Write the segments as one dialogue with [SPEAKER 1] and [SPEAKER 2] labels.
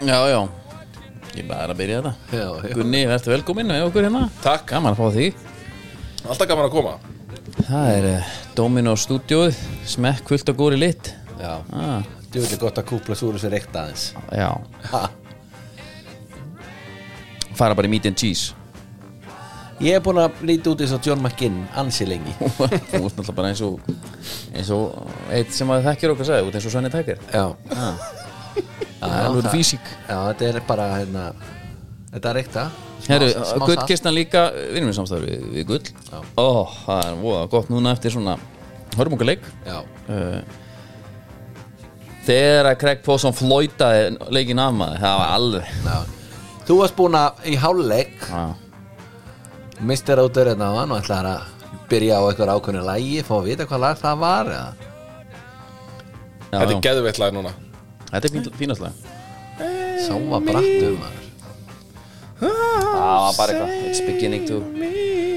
[SPEAKER 1] Já, já Ég er bara að byrja þetta
[SPEAKER 2] Já, já.
[SPEAKER 1] Gunni, ertu velkomin með okkur hérna
[SPEAKER 2] Takk.
[SPEAKER 1] Gaman að fá þig
[SPEAKER 2] Alltaf gaman að koma
[SPEAKER 1] Það er eh, Domino Studióð Smekk fullt og góri lit
[SPEAKER 2] Já,
[SPEAKER 1] ah,
[SPEAKER 2] djúvillig gott að kúpla svo úr þessu reykt aðeins
[SPEAKER 1] Já
[SPEAKER 2] ha.
[SPEAKER 1] Fara bara í meat and cheese
[SPEAKER 2] Ég er búin að líti út eins og John McGinn ansi lengi
[SPEAKER 1] Þú ert náttúrulega bara eins og eins og eitt sem að þekkir okkar sagði út eins og Svenni Tækir
[SPEAKER 2] Já,
[SPEAKER 1] Alveg físík
[SPEAKER 2] já þetta er bara hérna, þetta er reykta Smá-
[SPEAKER 1] Herru,
[SPEAKER 2] smá salt.
[SPEAKER 1] Gullkistan líka vinnum við samstæður við, við Gull
[SPEAKER 2] Já.
[SPEAKER 1] Ó, það er voða gott núna eftir svona hörmunguleik
[SPEAKER 2] Já,
[SPEAKER 1] Eh, Þegar að Craig Posson flóitaði leikin af maður, það var alveg
[SPEAKER 2] já Þú varst búin að í háluleik
[SPEAKER 1] Já,
[SPEAKER 2] Mister Óttur hérna á hann og ætlaði að byrja á eitthvað ákveðinu lægi Fá að vita hvað lag það var eða?
[SPEAKER 1] já,
[SPEAKER 3] Þetta
[SPEAKER 1] já.
[SPEAKER 3] er geðveitt lag núna
[SPEAKER 1] Þetta er fín- fínastlega
[SPEAKER 2] Sá var brattur maður
[SPEAKER 1] Það var bara eitthvað, it's beginning to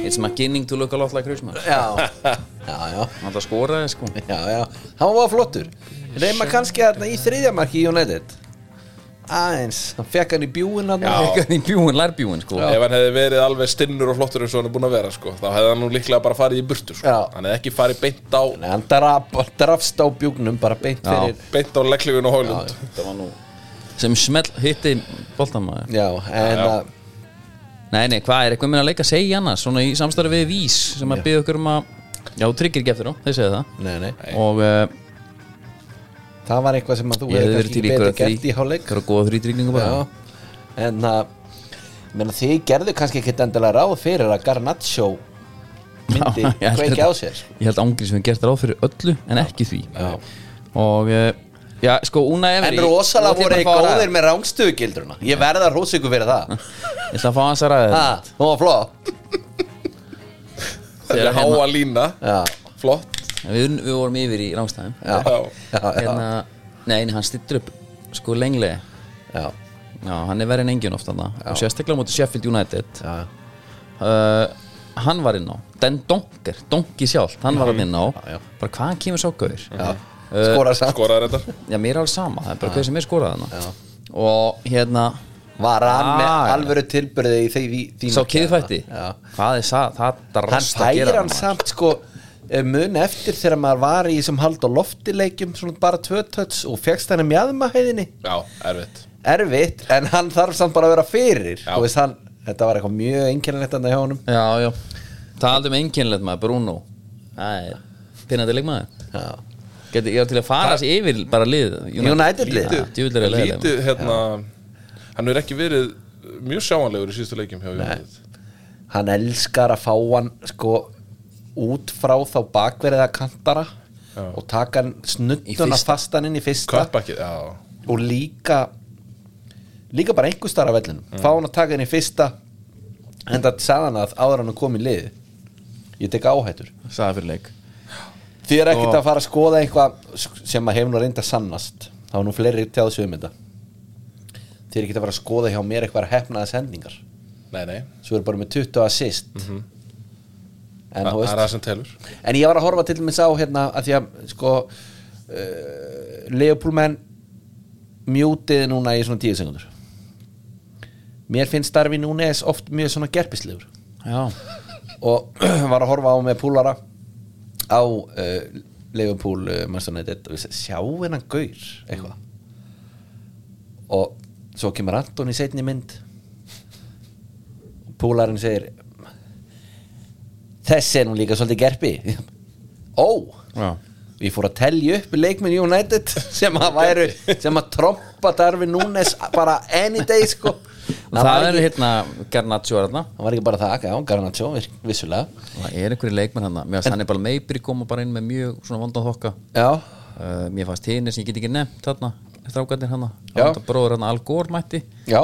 [SPEAKER 1] It's beginning to look a lot like Christmas
[SPEAKER 2] Já, já, já
[SPEAKER 1] Það skoraði sko
[SPEAKER 2] Já, já, hann var flottur Reima kannski að í þriðjamarki í United Aðeins, hann fekk hann í bjúin hann
[SPEAKER 1] Ekkert í bjúin, lærbjúin sko
[SPEAKER 3] Ef hann hefði verið alveg stinnur og flottur eins og hann er búin að vera sko, þá hefði hann nú líklega bara farið í burtu sko.
[SPEAKER 2] Já.
[SPEAKER 3] hann hefði ekki farið beint á
[SPEAKER 2] Nei, hann draf, drafst á bjúgnum bara beint
[SPEAKER 1] Já.
[SPEAKER 2] fyrir
[SPEAKER 3] beint á legglífun og hólund
[SPEAKER 1] Þetta var nú Sem smell hitti boltamæður
[SPEAKER 2] Já, en að
[SPEAKER 1] Nei, nei, hvað er eitthvað minna að leika að segja annars Svona í samstarfi við Vís sem að byggja okkur um að Já, þú tryggir ekki eftir þá, þeir segja það
[SPEAKER 2] Nei, nei,
[SPEAKER 1] Og uh,
[SPEAKER 2] það var eitthvað sem að þú
[SPEAKER 1] ég hefði
[SPEAKER 2] hefði
[SPEAKER 1] verið til
[SPEAKER 2] kannski
[SPEAKER 1] í
[SPEAKER 2] betur
[SPEAKER 1] hverja
[SPEAKER 2] gert í
[SPEAKER 1] þrý
[SPEAKER 2] hálfleik
[SPEAKER 1] Hverja góða þrýtryggingu bara
[SPEAKER 2] Já, en að menna, Þið gerðu kannski ekkit endilega ráð fyrir að Garnaccio myndi
[SPEAKER 1] Já, ég held
[SPEAKER 2] kveiki á
[SPEAKER 1] þetta-
[SPEAKER 2] sér
[SPEAKER 1] Ég held ángri sem við gert ráð fyrir öllu en ekki því
[SPEAKER 2] Já.
[SPEAKER 1] Og uh, já, sko, Una Emery
[SPEAKER 2] En rosalega
[SPEAKER 1] Nú ætla
[SPEAKER 2] voru
[SPEAKER 1] ég
[SPEAKER 2] þið
[SPEAKER 1] bara að fá að
[SPEAKER 2] góðir með rángstöðugildruna Ég verða að rósa ykkur fyrir það
[SPEAKER 1] ræða. Ég ætla að fá hans að ræða
[SPEAKER 2] Ha, Hún var flott
[SPEAKER 3] Þetta
[SPEAKER 1] Þegar
[SPEAKER 3] er háa lína,
[SPEAKER 2] hérna- Já,
[SPEAKER 3] flott
[SPEAKER 1] þetta við, við vorum yfir í rángstæðum
[SPEAKER 2] já,
[SPEAKER 3] Já.
[SPEAKER 2] já, já,
[SPEAKER 1] Hérna, nei, nei, hann stittur upp sko lenglega
[SPEAKER 2] já,
[SPEAKER 1] Já, hann er verið en engin oft hann og sérstaklega á móti Sheffield United
[SPEAKER 2] já,
[SPEAKER 1] uh, Hann var inn á Den Donker, Donki sjálf Hann var hann inn á,
[SPEAKER 2] já.
[SPEAKER 1] bara hvaðan kemur sá gaur
[SPEAKER 2] já. Uh, Skora samt
[SPEAKER 3] skoraði þetta
[SPEAKER 1] Já, mér er alveg sama, það er bara hver sem er skorað hann Og hérna
[SPEAKER 2] Var hann með
[SPEAKER 1] Ah, já.
[SPEAKER 2] alvöru tilbyrði í því því
[SPEAKER 1] Sá kiðfætti
[SPEAKER 2] Já.
[SPEAKER 1] Hvað er það, það
[SPEAKER 2] Hann
[SPEAKER 1] drast að
[SPEAKER 2] færi
[SPEAKER 1] gera
[SPEAKER 2] hann
[SPEAKER 1] maður.
[SPEAKER 2] samt sko eh, mun eftir þegar maður var í þessum hald og loftileikjum svona bara tvö töts og fegst hann um jaðmahæðinni
[SPEAKER 3] Já, erfitt
[SPEAKER 2] erfitt en hann þarf samt bara að vera fyrir
[SPEAKER 3] Já.
[SPEAKER 2] og veist hann, þetta var eitthvað mjög einkennilegt hann hjá honum
[SPEAKER 1] Já, já Talandi um einkennilegt maður, Bruno Það er pinnandi leikmaður
[SPEAKER 2] Já.
[SPEAKER 1] Geti, Ég var til að fara sér yfir bara lið
[SPEAKER 2] United lið.
[SPEAKER 1] Já, djúvill er að leiða
[SPEAKER 3] Lítið, hérna Hann er ekki verið mjög sjáanlegur í síðustu leikjum hjá United
[SPEAKER 2] hann elskar að fá hann sko út frá þá bakverðið að kantara
[SPEAKER 3] Já.
[SPEAKER 2] og taka hann
[SPEAKER 1] Í
[SPEAKER 2] snuttuna
[SPEAKER 1] fyrsta.
[SPEAKER 2] fastan inn í fyrsta
[SPEAKER 3] Köpbakið, já
[SPEAKER 2] og líka líka bara einhver starf vellinu fá hann að taka henni fyrsta en það sagði hann að áður en hann kom í lið ég tek áhættur
[SPEAKER 1] Sæða fyrir leik
[SPEAKER 2] því er ekkert að fara að skoða eitthvað sem maður hefur nú reynda sannast þá er nú fleiri tjáðu sig um þetta því er ekkert að fara að skoða hjá mér eitthvað hefnaðis hendingar
[SPEAKER 3] Nei, nei,
[SPEAKER 2] svo er bara með 20 assist en þú
[SPEAKER 3] það það er það
[SPEAKER 2] veist
[SPEAKER 3] sem telur
[SPEAKER 2] en ég var að horfa til dæmis á hérna að því að sko uh, Leopold menn mjútið núna í svona 10 sekundur mér finnst starfi núna eða oft mjög svona gerpislegur
[SPEAKER 1] Já,
[SPEAKER 2] og var að horfa á með púlara á uh, Leopold uh, Manchester United og ég segi, sjá hennan gaur eitthvað og svo kemur Anton í setni mynd púlarinn segir þessi er nú líka svolítið gerpi ó
[SPEAKER 1] já
[SPEAKER 2] Ég fór að telja upp leikminn United sem að væru, sem að trompa Darfi Núnes bara any day sko
[SPEAKER 1] Það,
[SPEAKER 2] var
[SPEAKER 1] er
[SPEAKER 2] ekki-
[SPEAKER 1] hérna Garnaccio er hérna
[SPEAKER 2] Það var ekki bara það, já, Garnaccio, vir- vissulega
[SPEAKER 1] Það er einhverju leikmenn hérna Mér fannst hann er bara meibri koma bara inn með mjög svona vondan þokka
[SPEAKER 2] Já,
[SPEAKER 1] uh, Mér fannst hini sem ég get ekki nefnt hérna Strákarnir hérna
[SPEAKER 2] Já.
[SPEAKER 1] Hann bróður hérna Al Gore mætti
[SPEAKER 2] já,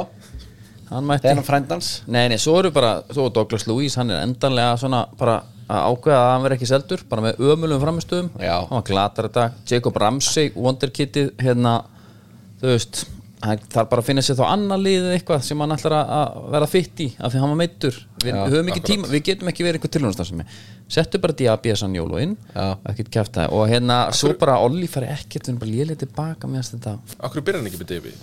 [SPEAKER 1] Hann mætti
[SPEAKER 2] það er hann frændans
[SPEAKER 1] Nei, nei, svo eru bara, svo er Douglas Lewis, hann er endanlega svona bara að ákveða að hann veri ekki seldur, bara með ömulum framistöðum,
[SPEAKER 2] Já.
[SPEAKER 1] hann var glatar þetta, Jacob Ramsey, Wonderkittið, hérna, þú veist, hann þarf bara að finna sér þá annað liðið eitthvað sem hann ætlar að- að vera fitt í, af því hann var meittur, við
[SPEAKER 2] Já,
[SPEAKER 1] höfum ekki tíma, við getum ekki verið einhver tilhjónastar sem ég, settu bara Diaby að sann jólu inn,
[SPEAKER 2] Já.
[SPEAKER 1] ekkert kæfta, og hérna, svo bara Olli fari ekkert, við erum bara lélið tilbaka með þess þetta,
[SPEAKER 3] Akkur byrjar hann ekki með Divi?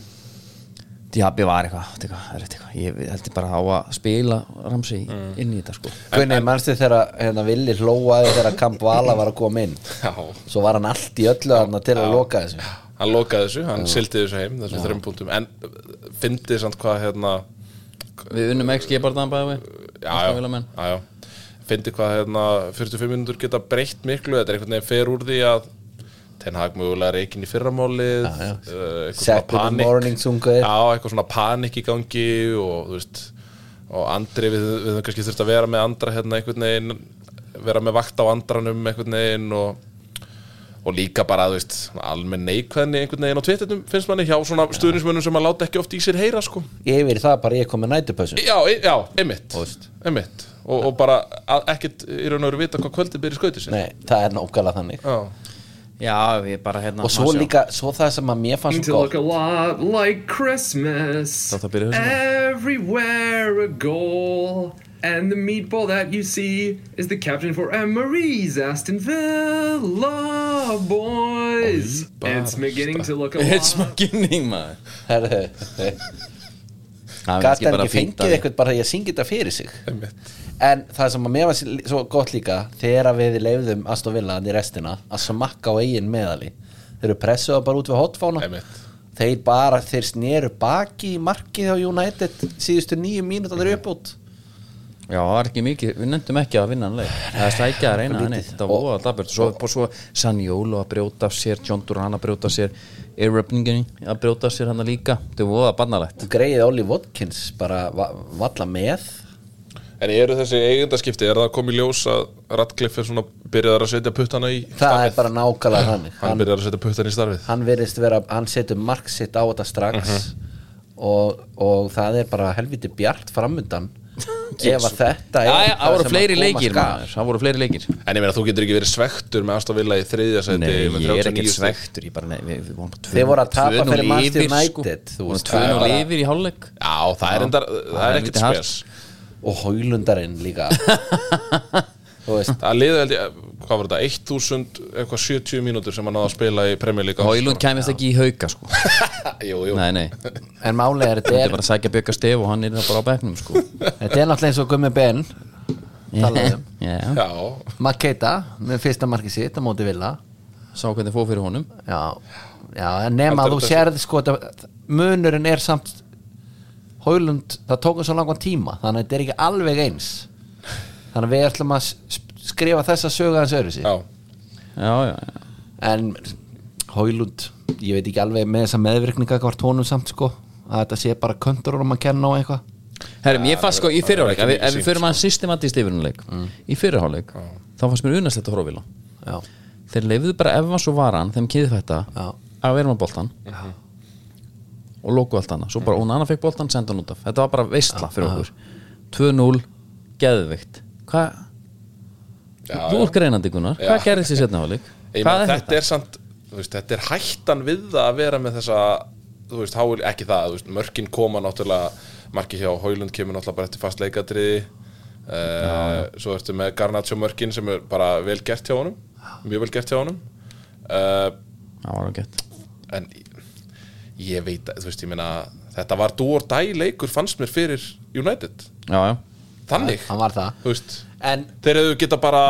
[SPEAKER 1] Diaby var eitthvað, átti eitthvað, erfitt eitthvað. ég held ég bara á að spila Ramsey inn í þetta sko
[SPEAKER 2] Gunni, manstu þegar hérna, Villi hlóaði þegar Kampvala var að koma inn
[SPEAKER 3] Já.
[SPEAKER 2] svo var hann allt í öllu þarna til að loka þessu
[SPEAKER 3] hann lokaði þessu, hann sildi þessu heim þessum þreim punktum, en uh, fyndið samt hvað hérna
[SPEAKER 1] Við unnum XG bara þannig bæði
[SPEAKER 3] já,
[SPEAKER 1] við
[SPEAKER 3] já, já, já, fyndið hvað hérna 45 minútur geta breytt miklu þetta er einhvern veginn fer úr því að Ten Hag mögulega reikin í fyrramálið já, já. eitthvað
[SPEAKER 2] Saturday morning sungu
[SPEAKER 3] já, eitthvað svona panik í gangi og þú veist og Andri, við, við höfum kannski þurft að vera með Andra hérna einhvern veginn vera með vakt á Andranum einhvern veginn og og líka bara, þú veist, almenn neikvæðni einhvern veginn á tvittinum finnst manni hjá svona stuðnismönnum sem að láta ekki oft í sér heyra, sko
[SPEAKER 2] yfir það bara ég kom með nætupössum
[SPEAKER 3] Já, e- já, einmitt,
[SPEAKER 2] Óst.
[SPEAKER 3] einmitt. Og, og bara að- ekkert í raun og veru vita hvað kvöldið byrja skautið sér
[SPEAKER 2] Nei, það er nákvæmlega þannig
[SPEAKER 3] Já,
[SPEAKER 1] Já, við bara hérna
[SPEAKER 2] og svo
[SPEAKER 1] má sjá.
[SPEAKER 2] líka, svo það sem að mér fannst
[SPEAKER 4] to
[SPEAKER 2] svo
[SPEAKER 4] look
[SPEAKER 2] gott
[SPEAKER 4] a lot like Christmas.
[SPEAKER 1] Thought that'd be the original.
[SPEAKER 4] Everywhere a goal. And the meatball that you see is the captain for Emery's Aston Villa boys. It's beginning to look a lot.
[SPEAKER 1] It's my guinning maður
[SPEAKER 2] Herðu,
[SPEAKER 1] Það er
[SPEAKER 2] Gat
[SPEAKER 1] kannski
[SPEAKER 2] hann
[SPEAKER 1] bara
[SPEAKER 2] ekki
[SPEAKER 1] fínt
[SPEAKER 2] fengið
[SPEAKER 1] að-
[SPEAKER 2] eitthvað bara að ég syngi þetta fyrir sig
[SPEAKER 3] einmitt
[SPEAKER 2] En það sem að mér var svo gott líka Þegar að við leifðum Aston Villa í restina Að smakka á eigin meðali Þeir eru pressuða bara út við hotfána
[SPEAKER 3] Einmitt.
[SPEAKER 2] Þeir bara, þeir sneru baki í markið á United Síðustu nýju mínútur að þeir upp út
[SPEAKER 1] Já, það var ekki mikið, við nefndum ekki að vinna hann leik Það er sækja að reyna hann eitt, þetta var voða daburt Svo, og, svo Sanjólo að brjóta af sér, John Duran að brjóta af sér Eröpningin að brjóta af sér hann líka Þetta er voða bannalegt
[SPEAKER 2] Og greið Ollie Watkins bara va valla með
[SPEAKER 3] En eru þessi eigundaskipti, er það komið ljós að Radcliffe er svona byrjaðar að setja puttana í
[SPEAKER 2] Það er bara nákvæmlega þannig
[SPEAKER 3] Hann byrjaðar að setja puttana í starfið
[SPEAKER 2] hann verðist vera, hann setur mark sitt á þetta strax
[SPEAKER 1] Mhm.
[SPEAKER 2] og, og það er bara helviti bjart framundan ef að þetta er
[SPEAKER 1] Já, já,
[SPEAKER 2] það
[SPEAKER 1] það voru
[SPEAKER 2] sem
[SPEAKER 1] fleiri
[SPEAKER 2] að koma
[SPEAKER 1] leikir
[SPEAKER 2] skal.
[SPEAKER 1] maður, það voru fleiri leikir
[SPEAKER 3] En ég meina, þú getur ekki verið svektur með Aston Villa í þriðja seti
[SPEAKER 1] Nei,
[SPEAKER 3] með
[SPEAKER 1] ég er
[SPEAKER 3] 39
[SPEAKER 1] ekkert
[SPEAKER 3] stig.
[SPEAKER 1] svektur, ég bara, nei, við, við vorum bara tvö-
[SPEAKER 2] Þeir voru að tapa
[SPEAKER 1] 2-0
[SPEAKER 2] fyrir
[SPEAKER 1] yfir, sko.
[SPEAKER 2] Manchester United,
[SPEAKER 1] Við
[SPEAKER 2] þú
[SPEAKER 1] vorum
[SPEAKER 2] veist, það er
[SPEAKER 1] 2-0
[SPEAKER 2] bara-
[SPEAKER 1] yfir í hálfleik
[SPEAKER 3] Já, það er, endar, það er
[SPEAKER 1] er
[SPEAKER 3] ekkert
[SPEAKER 1] lítið hart.
[SPEAKER 3] spes
[SPEAKER 2] og hólundarinn líka þú veist
[SPEAKER 3] Það liði held ég, hvað var þetta, 1000 eitthvað 70 mínútur sem hann náði að spila í Premier League á
[SPEAKER 1] Hólund kæmist ekki í hauka, sko
[SPEAKER 3] þessu. Jú, jú,
[SPEAKER 1] Nei, nei,
[SPEAKER 2] en málega er þetta
[SPEAKER 1] þetta
[SPEAKER 2] er,
[SPEAKER 1] er bara að sækja bjöka stef og hann er það bara á bekknum, sko
[SPEAKER 2] þetta er náttúrulega eins og Gummi Ben talaði um
[SPEAKER 1] Já,
[SPEAKER 3] já
[SPEAKER 2] Maketa með fyrsta markið sitt á móti Villa
[SPEAKER 1] sá hvernig fóð fyrir honum
[SPEAKER 2] já, já en nema
[SPEAKER 3] Heldur
[SPEAKER 2] þú
[SPEAKER 3] þetta
[SPEAKER 2] sérð sko þetta- munurinn er samt Hólund, það tók hann svo langan tíma þannig að þetta er ekki alveg eins þannig að við ætlum að s- skrifa þessa sögu hans öðru
[SPEAKER 3] Já,
[SPEAKER 1] Já, já, já
[SPEAKER 2] en Hólund, ég veit ekki alveg með þessa meðvirkninga hvort honum samt sko að þetta sé bara köntur um að kenna og eitthvað
[SPEAKER 1] Herrum, ég fannst sko í fyrirháleik
[SPEAKER 3] það
[SPEAKER 1] ef,
[SPEAKER 3] er
[SPEAKER 1] við-
[SPEAKER 3] ekki
[SPEAKER 1] ef við
[SPEAKER 3] sýnt,
[SPEAKER 1] förum að systematist yfirnuleik mm. í fyrirháleik, þá fannst mér unaslegt að horfa á hann
[SPEAKER 2] já,
[SPEAKER 1] þeir leifðu bara ef var svo varan þeim kýðfætta
[SPEAKER 2] Já.
[SPEAKER 1] að vera með boltan og lóku allt annað, svo bara hún annað fekk boltan senda hann út af, þetta var bara veistla fyrir okkur 2-0, geðvikt hvað,
[SPEAKER 3] já,
[SPEAKER 1] þú ert greinandi Gunnar
[SPEAKER 3] Já.
[SPEAKER 1] hvað gerðist í setna hálik,
[SPEAKER 3] Ég
[SPEAKER 1] hvað
[SPEAKER 3] meina,
[SPEAKER 1] er
[SPEAKER 3] þetta
[SPEAKER 1] þetta
[SPEAKER 3] er samt, þú veist, þetta er hættan við það að vera með þessa, þú veist, háil, ekki það, þú veist, mörkin koma náttúrulega, marki hjá Hólund kemur náttúrulega bara eftir fast leikadriði, uh, svo ertu með Garnaccio mörkin sem er bara vel gert hjá honum, mjög vel gert hjá honum, uh,
[SPEAKER 1] það var ágætt
[SPEAKER 3] en ég veit, að, þú veist, ég meina, þetta var dúor dæ leikur fannst mér fyrir United,
[SPEAKER 1] já, já,
[SPEAKER 3] þannig,
[SPEAKER 2] hann var það
[SPEAKER 3] þú veist,
[SPEAKER 2] en
[SPEAKER 3] þeir hefðu geta bara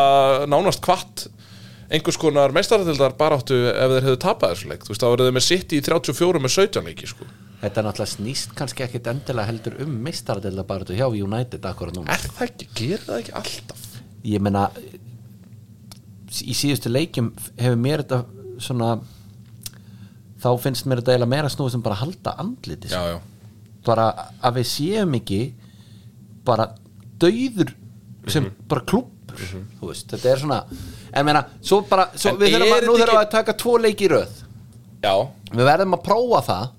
[SPEAKER 3] nánast kvatt einhvers konar meistaratildar baráttu ef þeir hefðu tapað þessu leik þú veist, þá voru þeir með City í 34 með 17 leiki sko.
[SPEAKER 2] þetta náttúrulega snýst kannski ekkit endilega heldur um meistaradelda bara hjá United akkurat núna
[SPEAKER 3] er það ekki, gerir það ekki alltaf
[SPEAKER 2] ég meina í síðustu leikjum hefur mér þetta svona þá finnst mér þetta eiginlega meira snúið sem bara að halda andliti
[SPEAKER 3] já, já,
[SPEAKER 2] bara að við séum ekki bara dauður sem
[SPEAKER 3] Mhm.
[SPEAKER 2] bara klúppur þú veist, þetta er svona en meina, svo bara, svo
[SPEAKER 3] En
[SPEAKER 2] við þurfum
[SPEAKER 3] er
[SPEAKER 2] að, nú
[SPEAKER 3] þetta
[SPEAKER 2] þurfum
[SPEAKER 3] ekki-
[SPEAKER 2] við að taka tvo leiki í röð
[SPEAKER 3] já
[SPEAKER 2] við verðum að prófa það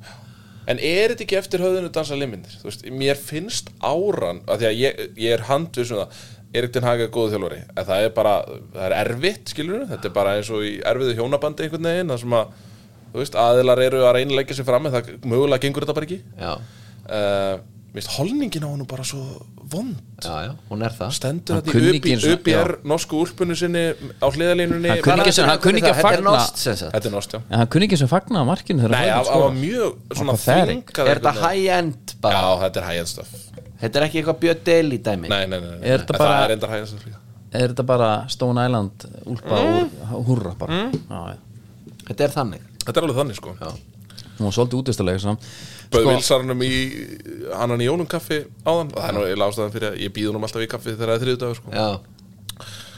[SPEAKER 3] en er þetta ekki eftir höfðinu dansa limindir þú veist, mér finnst áran af því að ég, ég er handvið svona Erik Ten Hag er góðu þjálfari en það er bara, það er erfitt skilur þetta er bara eins og í erfiðu hjónabandi einhvern veginn það sem að, þú veist, aðilar eru að reynilegja sér fram en það mögulega gengur þetta bara ekki
[SPEAKER 2] já,
[SPEAKER 3] uh, veist, holningin á hann bara svo vond
[SPEAKER 2] já, já, hún er það
[SPEAKER 3] stendur
[SPEAKER 1] Hann
[SPEAKER 3] hann
[SPEAKER 1] kunni
[SPEAKER 3] í
[SPEAKER 1] ekki
[SPEAKER 3] UBI,
[SPEAKER 1] einu sinni-
[SPEAKER 3] UBR norsku úlpunni sinni á hliðalínunni
[SPEAKER 1] Hann kunni ekki sem- hann kunni ekki að
[SPEAKER 2] Þetta er
[SPEAKER 1] fagna-
[SPEAKER 2] nost, sem sagt.
[SPEAKER 3] þetta er nást, já
[SPEAKER 1] En hann kunni ekki sem fagnaði að markinu þegar
[SPEAKER 3] Nei,
[SPEAKER 1] hann sko. var að
[SPEAKER 3] það það
[SPEAKER 1] skora.
[SPEAKER 3] var mjög svona
[SPEAKER 1] Pathetic.
[SPEAKER 3] þvingað
[SPEAKER 2] Er þetta high-end
[SPEAKER 3] Já,
[SPEAKER 2] bara?
[SPEAKER 3] þetta er high-end stuff
[SPEAKER 2] Þetta er ekki eitthvað Björn Deli dæmi?
[SPEAKER 3] Nei, nei, nei, nei.
[SPEAKER 1] Er þetta
[SPEAKER 3] En
[SPEAKER 1] bara-
[SPEAKER 3] Það er enda high-end stuff líka
[SPEAKER 1] Er þetta bara Stone Island úlpa
[SPEAKER 3] Mm.
[SPEAKER 1] úr húrra bara Já, já.
[SPEAKER 2] Þetta er þannig
[SPEAKER 3] Þetta er alveg þannig, sko
[SPEAKER 2] Já.
[SPEAKER 1] Hún var svolítið útistalega sko.
[SPEAKER 3] Böð vilsarnum í annan í jólum kaffi áðan og Það er nú eiginlega ástæðan fyrir að ég býð honum alltaf í kaffi þegar það er þriðdagur, sko
[SPEAKER 2] Já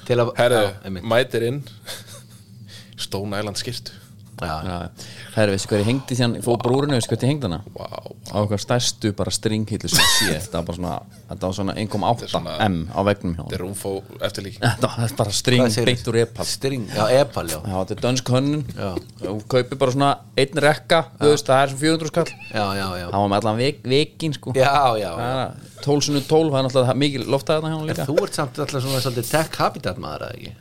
[SPEAKER 2] Til að já,
[SPEAKER 3] Herðu,
[SPEAKER 2] einmitt.
[SPEAKER 3] mætir inn Stone Island skirtu
[SPEAKER 2] já.
[SPEAKER 1] Já, það er veist hvað ég hengdi síðan Fóð brúrinu, veist hvað ég hengdi hana
[SPEAKER 3] Vá wow.
[SPEAKER 1] Á okkar stærstu bara stringhillu sem sé Þetta var bara svona, þetta var svona 1,8
[SPEAKER 3] svona-
[SPEAKER 1] M á vegnum hjá
[SPEAKER 3] Þetta
[SPEAKER 1] honum.
[SPEAKER 3] er rúmfó eftirlík
[SPEAKER 1] Þetta var bara string
[SPEAKER 2] Hvað segirðu?
[SPEAKER 1] beitt úr epal
[SPEAKER 2] String, já, epal, já
[SPEAKER 1] Já, þetta er dönsk hönnun
[SPEAKER 2] Já.
[SPEAKER 1] Þú kaupir bara svona einn rekka Þú veist, það er svona 400 skall
[SPEAKER 2] Já, já, já
[SPEAKER 1] Það var með allan vik, vikin sko
[SPEAKER 2] Já, já,
[SPEAKER 1] Það
[SPEAKER 2] já
[SPEAKER 1] er að 12 sinni 12, það er náttúrulega mikil loftað þarna hjá hún
[SPEAKER 2] En
[SPEAKER 1] líka
[SPEAKER 2] þú ert samt alltaf svona svolítið tech habitat maður eða ekki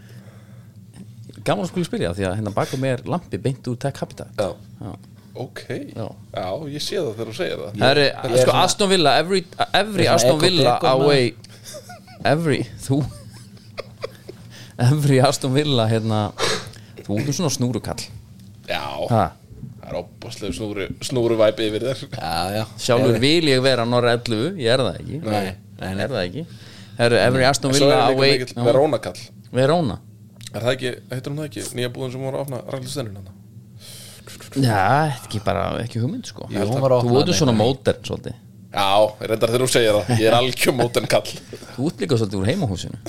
[SPEAKER 1] Gaman að skuli spyrja því að hérna baka mig er lampi beint úr Tech Habitat
[SPEAKER 2] Já
[SPEAKER 3] Ok,
[SPEAKER 1] Já.
[SPEAKER 3] já. ég sé það þegar þú segir það
[SPEAKER 1] Það eru,
[SPEAKER 2] er
[SPEAKER 1] sko
[SPEAKER 2] svona-
[SPEAKER 1] Aston Villa Every, every
[SPEAKER 2] Ég er svona
[SPEAKER 1] Aston Villa
[SPEAKER 2] eco-deco maður.
[SPEAKER 1] away Every, þú Every Aston Villa hérna Þú ert nú svona snúrukall
[SPEAKER 3] Já,
[SPEAKER 1] ha,
[SPEAKER 3] það er opaslega snúru, snúru væpi yfir þér
[SPEAKER 2] Já, já
[SPEAKER 1] Sjálfur vil ég vera norra 11 Ég er það ekki
[SPEAKER 2] Nei, nei, nei.
[SPEAKER 1] Er það ekki Herru, Every Aston
[SPEAKER 3] En svo
[SPEAKER 1] Villa
[SPEAKER 3] er líka
[SPEAKER 1] away
[SPEAKER 3] mikill Verónakall
[SPEAKER 1] Já, Verona
[SPEAKER 3] Er það ekki, heitir hún það ekki, nýja búðin sem voru að opna ræðlistennun hann?
[SPEAKER 1] Já, ekki bara, ekki hugmynd sko
[SPEAKER 2] Jú, hún var að
[SPEAKER 1] Þú
[SPEAKER 2] opna
[SPEAKER 1] ert nú
[SPEAKER 2] hana
[SPEAKER 1] svona
[SPEAKER 2] eitthvað.
[SPEAKER 1] mótern svolítið
[SPEAKER 3] Já, reyndar þegar þú segir það, ég er algjör móten kall
[SPEAKER 1] Þú ert líka svolítið úr heimahúsinu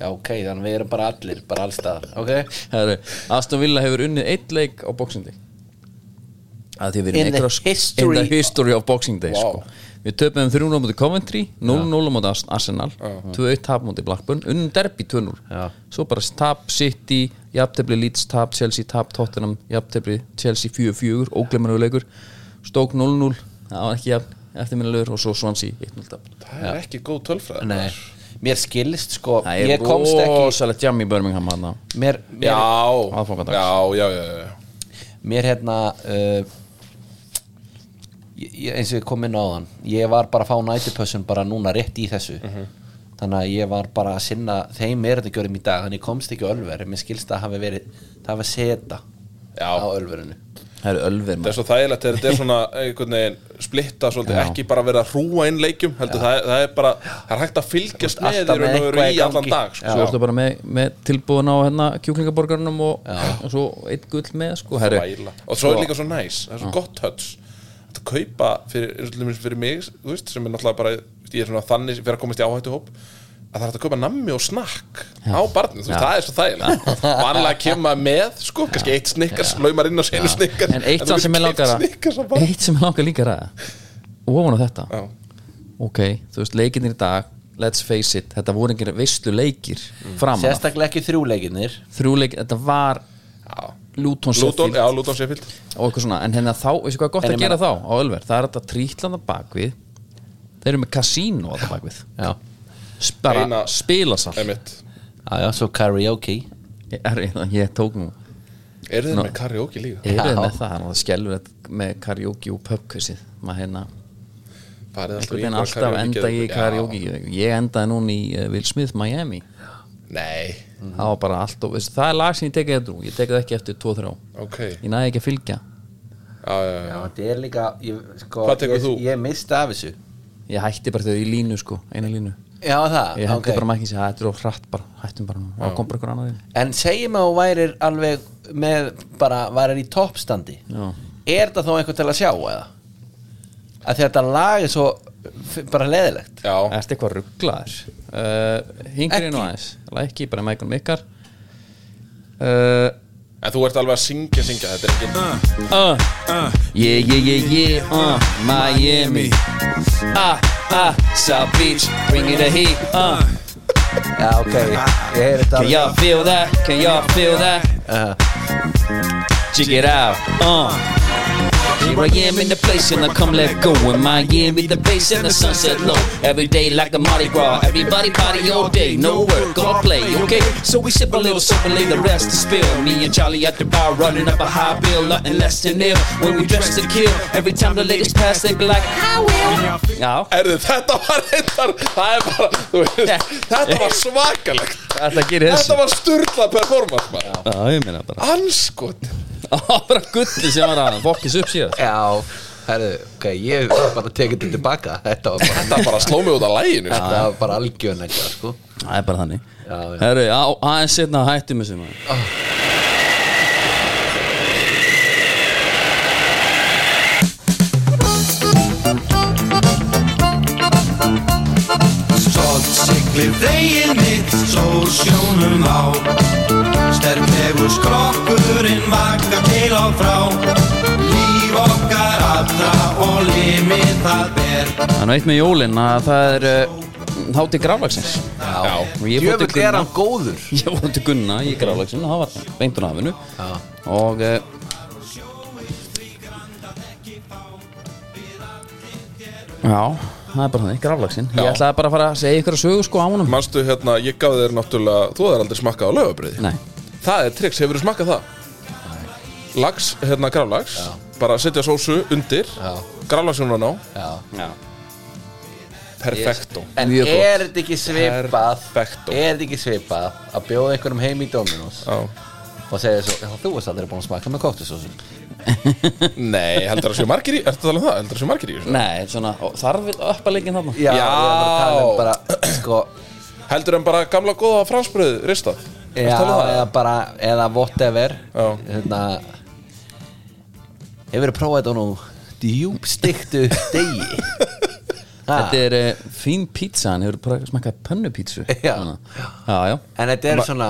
[SPEAKER 2] Já, ok, þannig við erum bara allir, bara allstaðar Ok
[SPEAKER 1] Herru, Aston Villa hefur unnið eitt leik á Boxing Day að því að við erum
[SPEAKER 2] In the
[SPEAKER 1] eitthvað sk-
[SPEAKER 2] history-
[SPEAKER 1] in the history of Boxing Day
[SPEAKER 3] Wow.
[SPEAKER 1] sko. við töpum 3-0 mútið Coventry 0-0 mútið Ars- Arsenal 2-1 tap mútið Blackburn, unnum derbi 2-0
[SPEAKER 2] Já.
[SPEAKER 1] svo bara tap City jafntefli Leeds tap, Chelsea tap, Tottenham jafntefli Chelsea 4-4, óglemmanögu leikur Stoke 0-0 það var ekki jafn, eftirminnilegur og svo Swansea 1-0 tap
[SPEAKER 3] Það er ekki góð tölfræð
[SPEAKER 2] Nei, mér skilist sko
[SPEAKER 1] það
[SPEAKER 2] Ég
[SPEAKER 1] er
[SPEAKER 2] komst ekki
[SPEAKER 1] rosalegt jam í Birmingham hana.
[SPEAKER 2] Mér, mér,
[SPEAKER 3] Já,
[SPEAKER 1] Aðfangadags.
[SPEAKER 3] já, já, já, já.
[SPEAKER 2] mér hérna uh, ég, ég- eins og ég kom inn á þann ég var bara að fá nætupössun bara núna rétt í þessu þannig að ég var bara að sinna þeim erðingjörðum í dag þannig ég komst ekki á ölver mér skilst að það hafi verið það hafi seta
[SPEAKER 3] Já.
[SPEAKER 2] á ölverinu
[SPEAKER 1] það eru ölver
[SPEAKER 3] Það er svo þægilegt þegar þetta er svona einhvern veginn splitta svolítið,
[SPEAKER 1] Já.
[SPEAKER 3] ekki bara vera að hrúa inn leikjum, heldur það, er- það er bara það er hægt að fylgjast með
[SPEAKER 2] alltaf
[SPEAKER 3] þér
[SPEAKER 2] með
[SPEAKER 3] og veru
[SPEAKER 2] eitthvað
[SPEAKER 3] í
[SPEAKER 2] í gangi.
[SPEAKER 3] allan dag sko.
[SPEAKER 1] svo ertu bara með, með tilbúin á hérna, kjúklingaborgarnum og, og svo eitt gull með sko, herri,
[SPEAKER 3] Væla. og svo er líka svo næs, það er svo gott höts að kaupa fyrir, eins og til dæmis fyrir mig þú veist, sem er náttúrulega bara ég er svona þannig fyrir að komast í áhættu hóp að það er hægt að kaupa nammi og snakk á barnið, þú veist, það er svo þægilegt vanlega að kemur maður með, sko, kannski eitt snikkars laumar inn á senu snikkars
[SPEAKER 1] en eitt sem ég langar að eitt sem ég langar líka að ræða ofan á þetta,
[SPEAKER 3] Já,
[SPEAKER 1] ok, þú veist leikinir í dag, let's face it þetta voru engir veistlu leikir
[SPEAKER 3] Mm.
[SPEAKER 1] framan af.
[SPEAKER 2] sérstaklega ekki þrjúleikinir
[SPEAKER 1] þrjú leikir, þetta var
[SPEAKER 3] já.
[SPEAKER 1] Luton
[SPEAKER 3] Luton,
[SPEAKER 1] Sheffield
[SPEAKER 3] já, Luton Sheffield
[SPEAKER 1] og eitthvað svona, en hérna þá, veistu hvað er gott að
[SPEAKER 2] En ég
[SPEAKER 1] gera þá á Ölver, það er þetta trítlanda bakvið þeir eru með kasínu á þetta bakvið
[SPEAKER 2] já,
[SPEAKER 1] S- bara
[SPEAKER 3] Eina-
[SPEAKER 1] spilasall ég,
[SPEAKER 3] Einmitt.
[SPEAKER 2] já, já svo karaoke
[SPEAKER 1] ég, ég tók nú
[SPEAKER 3] Eru þið með karaoke líka?
[SPEAKER 1] Eruð
[SPEAKER 2] Já.
[SPEAKER 1] með það, það skjálfur þetta með karaoke og pubquizið maður hérna,
[SPEAKER 3] Farið
[SPEAKER 1] einhvern veginn alltaf enda í karaoke ég endaði núna í uh, Will Smith Miami
[SPEAKER 3] Nei,
[SPEAKER 1] það var bara allt og veist, það er lag sem ég tekið þetta ég tekið það ekki eftir 2-3
[SPEAKER 3] ok
[SPEAKER 1] ég næði ekki að fylgja
[SPEAKER 3] já, já, já.
[SPEAKER 2] já, þetta er líka ég, sko,
[SPEAKER 3] Hvað tekur
[SPEAKER 2] ég,
[SPEAKER 3] þú?
[SPEAKER 2] ég misti af þessu
[SPEAKER 1] ég hætti bara þau í línu sko, eina línu
[SPEAKER 2] já, það,
[SPEAKER 1] ég hætti
[SPEAKER 2] ok
[SPEAKER 1] bara mækins að þetta er of hratt bara hættum bara nú, þá kom bara ykkur annað inn
[SPEAKER 2] en segjum að þú værir alveg með, bara, værir í toppstandi
[SPEAKER 1] Já.
[SPEAKER 2] er það þá einhvern til að sjá eða að þetta lag er svo f- bara leðilegt
[SPEAKER 3] já.
[SPEAKER 1] ertu eitthvað rugglaður uh, hingri nú aðeins, lækki bara mækunum ykkar uh,
[SPEAKER 3] En þú ert alveg að syngja, syngja Þetta er ekki
[SPEAKER 1] uh, yeah, yeah, yeah, yeah, uh, Miami Ah, ah, South Beach, bringing the heat, uh
[SPEAKER 2] já ok, ég heyr þetta
[SPEAKER 1] Can y'all feel that, can y'all feel that
[SPEAKER 2] uh,
[SPEAKER 1] Check it out, uh
[SPEAKER 5] Here I am in the place and I come let go. In my year with the bass and the sunset low. Every day like the Mardi Gras. Everybody party all day. No work, all play, okay? So we sip a little sip and lay the rest to spill. Me and Charlie at the bar running up a high bill. Nothing less than ill. When we dress to kill. Every time the ladies pass, they be like, I will. Já,
[SPEAKER 3] Erðu, þetta var reyndar Það er bara, þú veist Þetta var svakalegt
[SPEAKER 1] Þetta gerir þessu
[SPEAKER 3] Þetta var sturla performance maður
[SPEAKER 1] Já, ég meina bara
[SPEAKER 3] Anskot
[SPEAKER 1] Það var gulli sem var að
[SPEAKER 5] er
[SPEAKER 1] fokkis upp síðan
[SPEAKER 2] Já, herðu, ok, ég bara tekið þetta tilbaka Þetta var bara,
[SPEAKER 3] Þetta bara sló mig út af læginu sko.
[SPEAKER 2] þetta var bara algjörn eitthvað, sko
[SPEAKER 1] Það er bara þannig
[SPEAKER 2] Já, já.
[SPEAKER 1] Herru, já, aðeins setna hættum þessu maður
[SPEAKER 6] Stott siglir veginn mitt sól sjónum á Sterklegur skrokkurinn vakar til og frá Líf okkar allra og limið það ber
[SPEAKER 1] Það er nú eitt með jólin að það er uh, hátti grálagsins
[SPEAKER 3] Já,
[SPEAKER 1] og ég fór til
[SPEAKER 2] Jöfull er
[SPEAKER 1] Gunna
[SPEAKER 2] hann góður
[SPEAKER 1] ég fór til Gunna í grálagsinu það var beintur afinu
[SPEAKER 2] Já.
[SPEAKER 1] og uh, já, það er bara þannig grálagsinn ég
[SPEAKER 3] Já.
[SPEAKER 1] ætlaði bara að fara að segja ykkur að sögu sko á honum
[SPEAKER 3] Manstu hérna, ég gaf þér náttúrulega Þú hefur aldrei smakkað á lögabriði
[SPEAKER 1] nei,
[SPEAKER 3] Það er triks, hefur þú smakkað það? Lags, hérna grálags Bara setja sósu undir Grálagsjónu á
[SPEAKER 2] Já.
[SPEAKER 3] Perfecto
[SPEAKER 2] En
[SPEAKER 1] Mjög gott.
[SPEAKER 2] er þetta ekki svipað
[SPEAKER 3] Perfecto.
[SPEAKER 2] Er þetta ekki svipað að bjóða einhverjum heim í Dominos
[SPEAKER 3] Já.
[SPEAKER 2] og segja svo, já, þú varst aldrei búin að smaka með kóttisósu
[SPEAKER 3] Nei, heldur það séu margir í Ertu að tala um það? Heldur það séu margir í þessu?
[SPEAKER 1] nei, svona og þarf við upp að leggja þarna
[SPEAKER 2] Já, ég var bara að tala um
[SPEAKER 3] Já.
[SPEAKER 2] bara, sko
[SPEAKER 3] Heldur en bara gamla góða fransbröð Ristað
[SPEAKER 2] Já,
[SPEAKER 3] Ertu að tala um
[SPEAKER 2] eða
[SPEAKER 3] það?
[SPEAKER 2] bara, eða whatever
[SPEAKER 3] Já.
[SPEAKER 2] Hérna Hefur þið prófað þetta á nú djúbstiktu degi Ha,
[SPEAKER 1] þetta er uh, fín pizza en hefur bara smakkað pönnupítsu
[SPEAKER 2] Já.
[SPEAKER 1] Svona. já, já,
[SPEAKER 2] En þetta er svona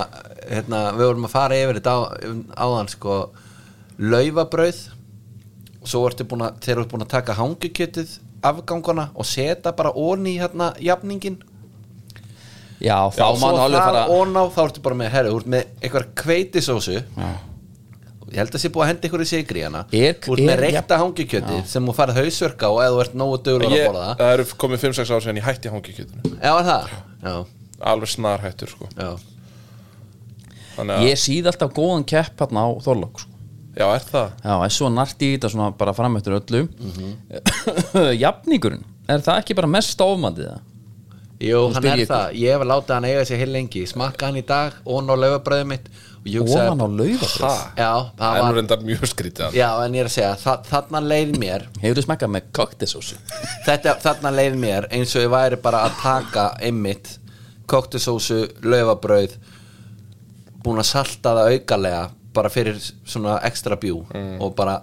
[SPEAKER 2] hérna, Við vorum að fara yfir þetta á, áðan sko, Laufabrauð og Svo ertu búin að Þeir eru búin að taka hangukjötið Afgangana og setja bara onni í hérna, Jafningin
[SPEAKER 1] já þá
[SPEAKER 2] og svo
[SPEAKER 1] mann alveg
[SPEAKER 2] þar
[SPEAKER 1] fara
[SPEAKER 2] onna þá ertu bara með herri, þú ert með eitthvað kveitisósu ég held að sé búið að henda ykkur í sigri hana
[SPEAKER 1] Er-
[SPEAKER 2] þú ert með
[SPEAKER 1] er-
[SPEAKER 2] reykta hangikjöti sem þú farið hausverka á eða þú ert nógu dögulega að
[SPEAKER 3] Ég,
[SPEAKER 2] borða það
[SPEAKER 3] það eru komið 5-6 ár síðan ég hætti hangikjötinu
[SPEAKER 2] já, var það? já,
[SPEAKER 3] Alveg snar hættur sko
[SPEAKER 2] já,
[SPEAKER 3] Þannig að,
[SPEAKER 1] ég síð alltaf góðan kepp hérna á Þorlók sko.
[SPEAKER 3] já, er það?
[SPEAKER 1] já, er svo nart í þetta svona bara fram eftir öllu
[SPEAKER 2] Mhm.
[SPEAKER 1] jafningurinn er það ekki bara mest ofmandið það?
[SPEAKER 2] jú,
[SPEAKER 1] Nú
[SPEAKER 2] hann
[SPEAKER 1] spyr
[SPEAKER 2] er
[SPEAKER 1] ég ykkur.
[SPEAKER 2] það ég hef látið hann eiga sér heil lengi, smakka hann í dag onna á laufabröðið mitt og ég hugsaði-
[SPEAKER 1] ofan á laufabröð
[SPEAKER 2] já,
[SPEAKER 3] Það
[SPEAKER 2] það
[SPEAKER 3] er nú
[SPEAKER 2] var
[SPEAKER 3] reyndar mjög skrítið
[SPEAKER 2] já, en ég er að segja, þa- þarna leið mér
[SPEAKER 1] hefur þú smekkað með koktisósu
[SPEAKER 2] þetta, þarna leið mér eins og ég væri bara að taka einmitt koktisósu, laufabrauð búin að salta það aukalega bara fyrir svona ekstra bjú og bara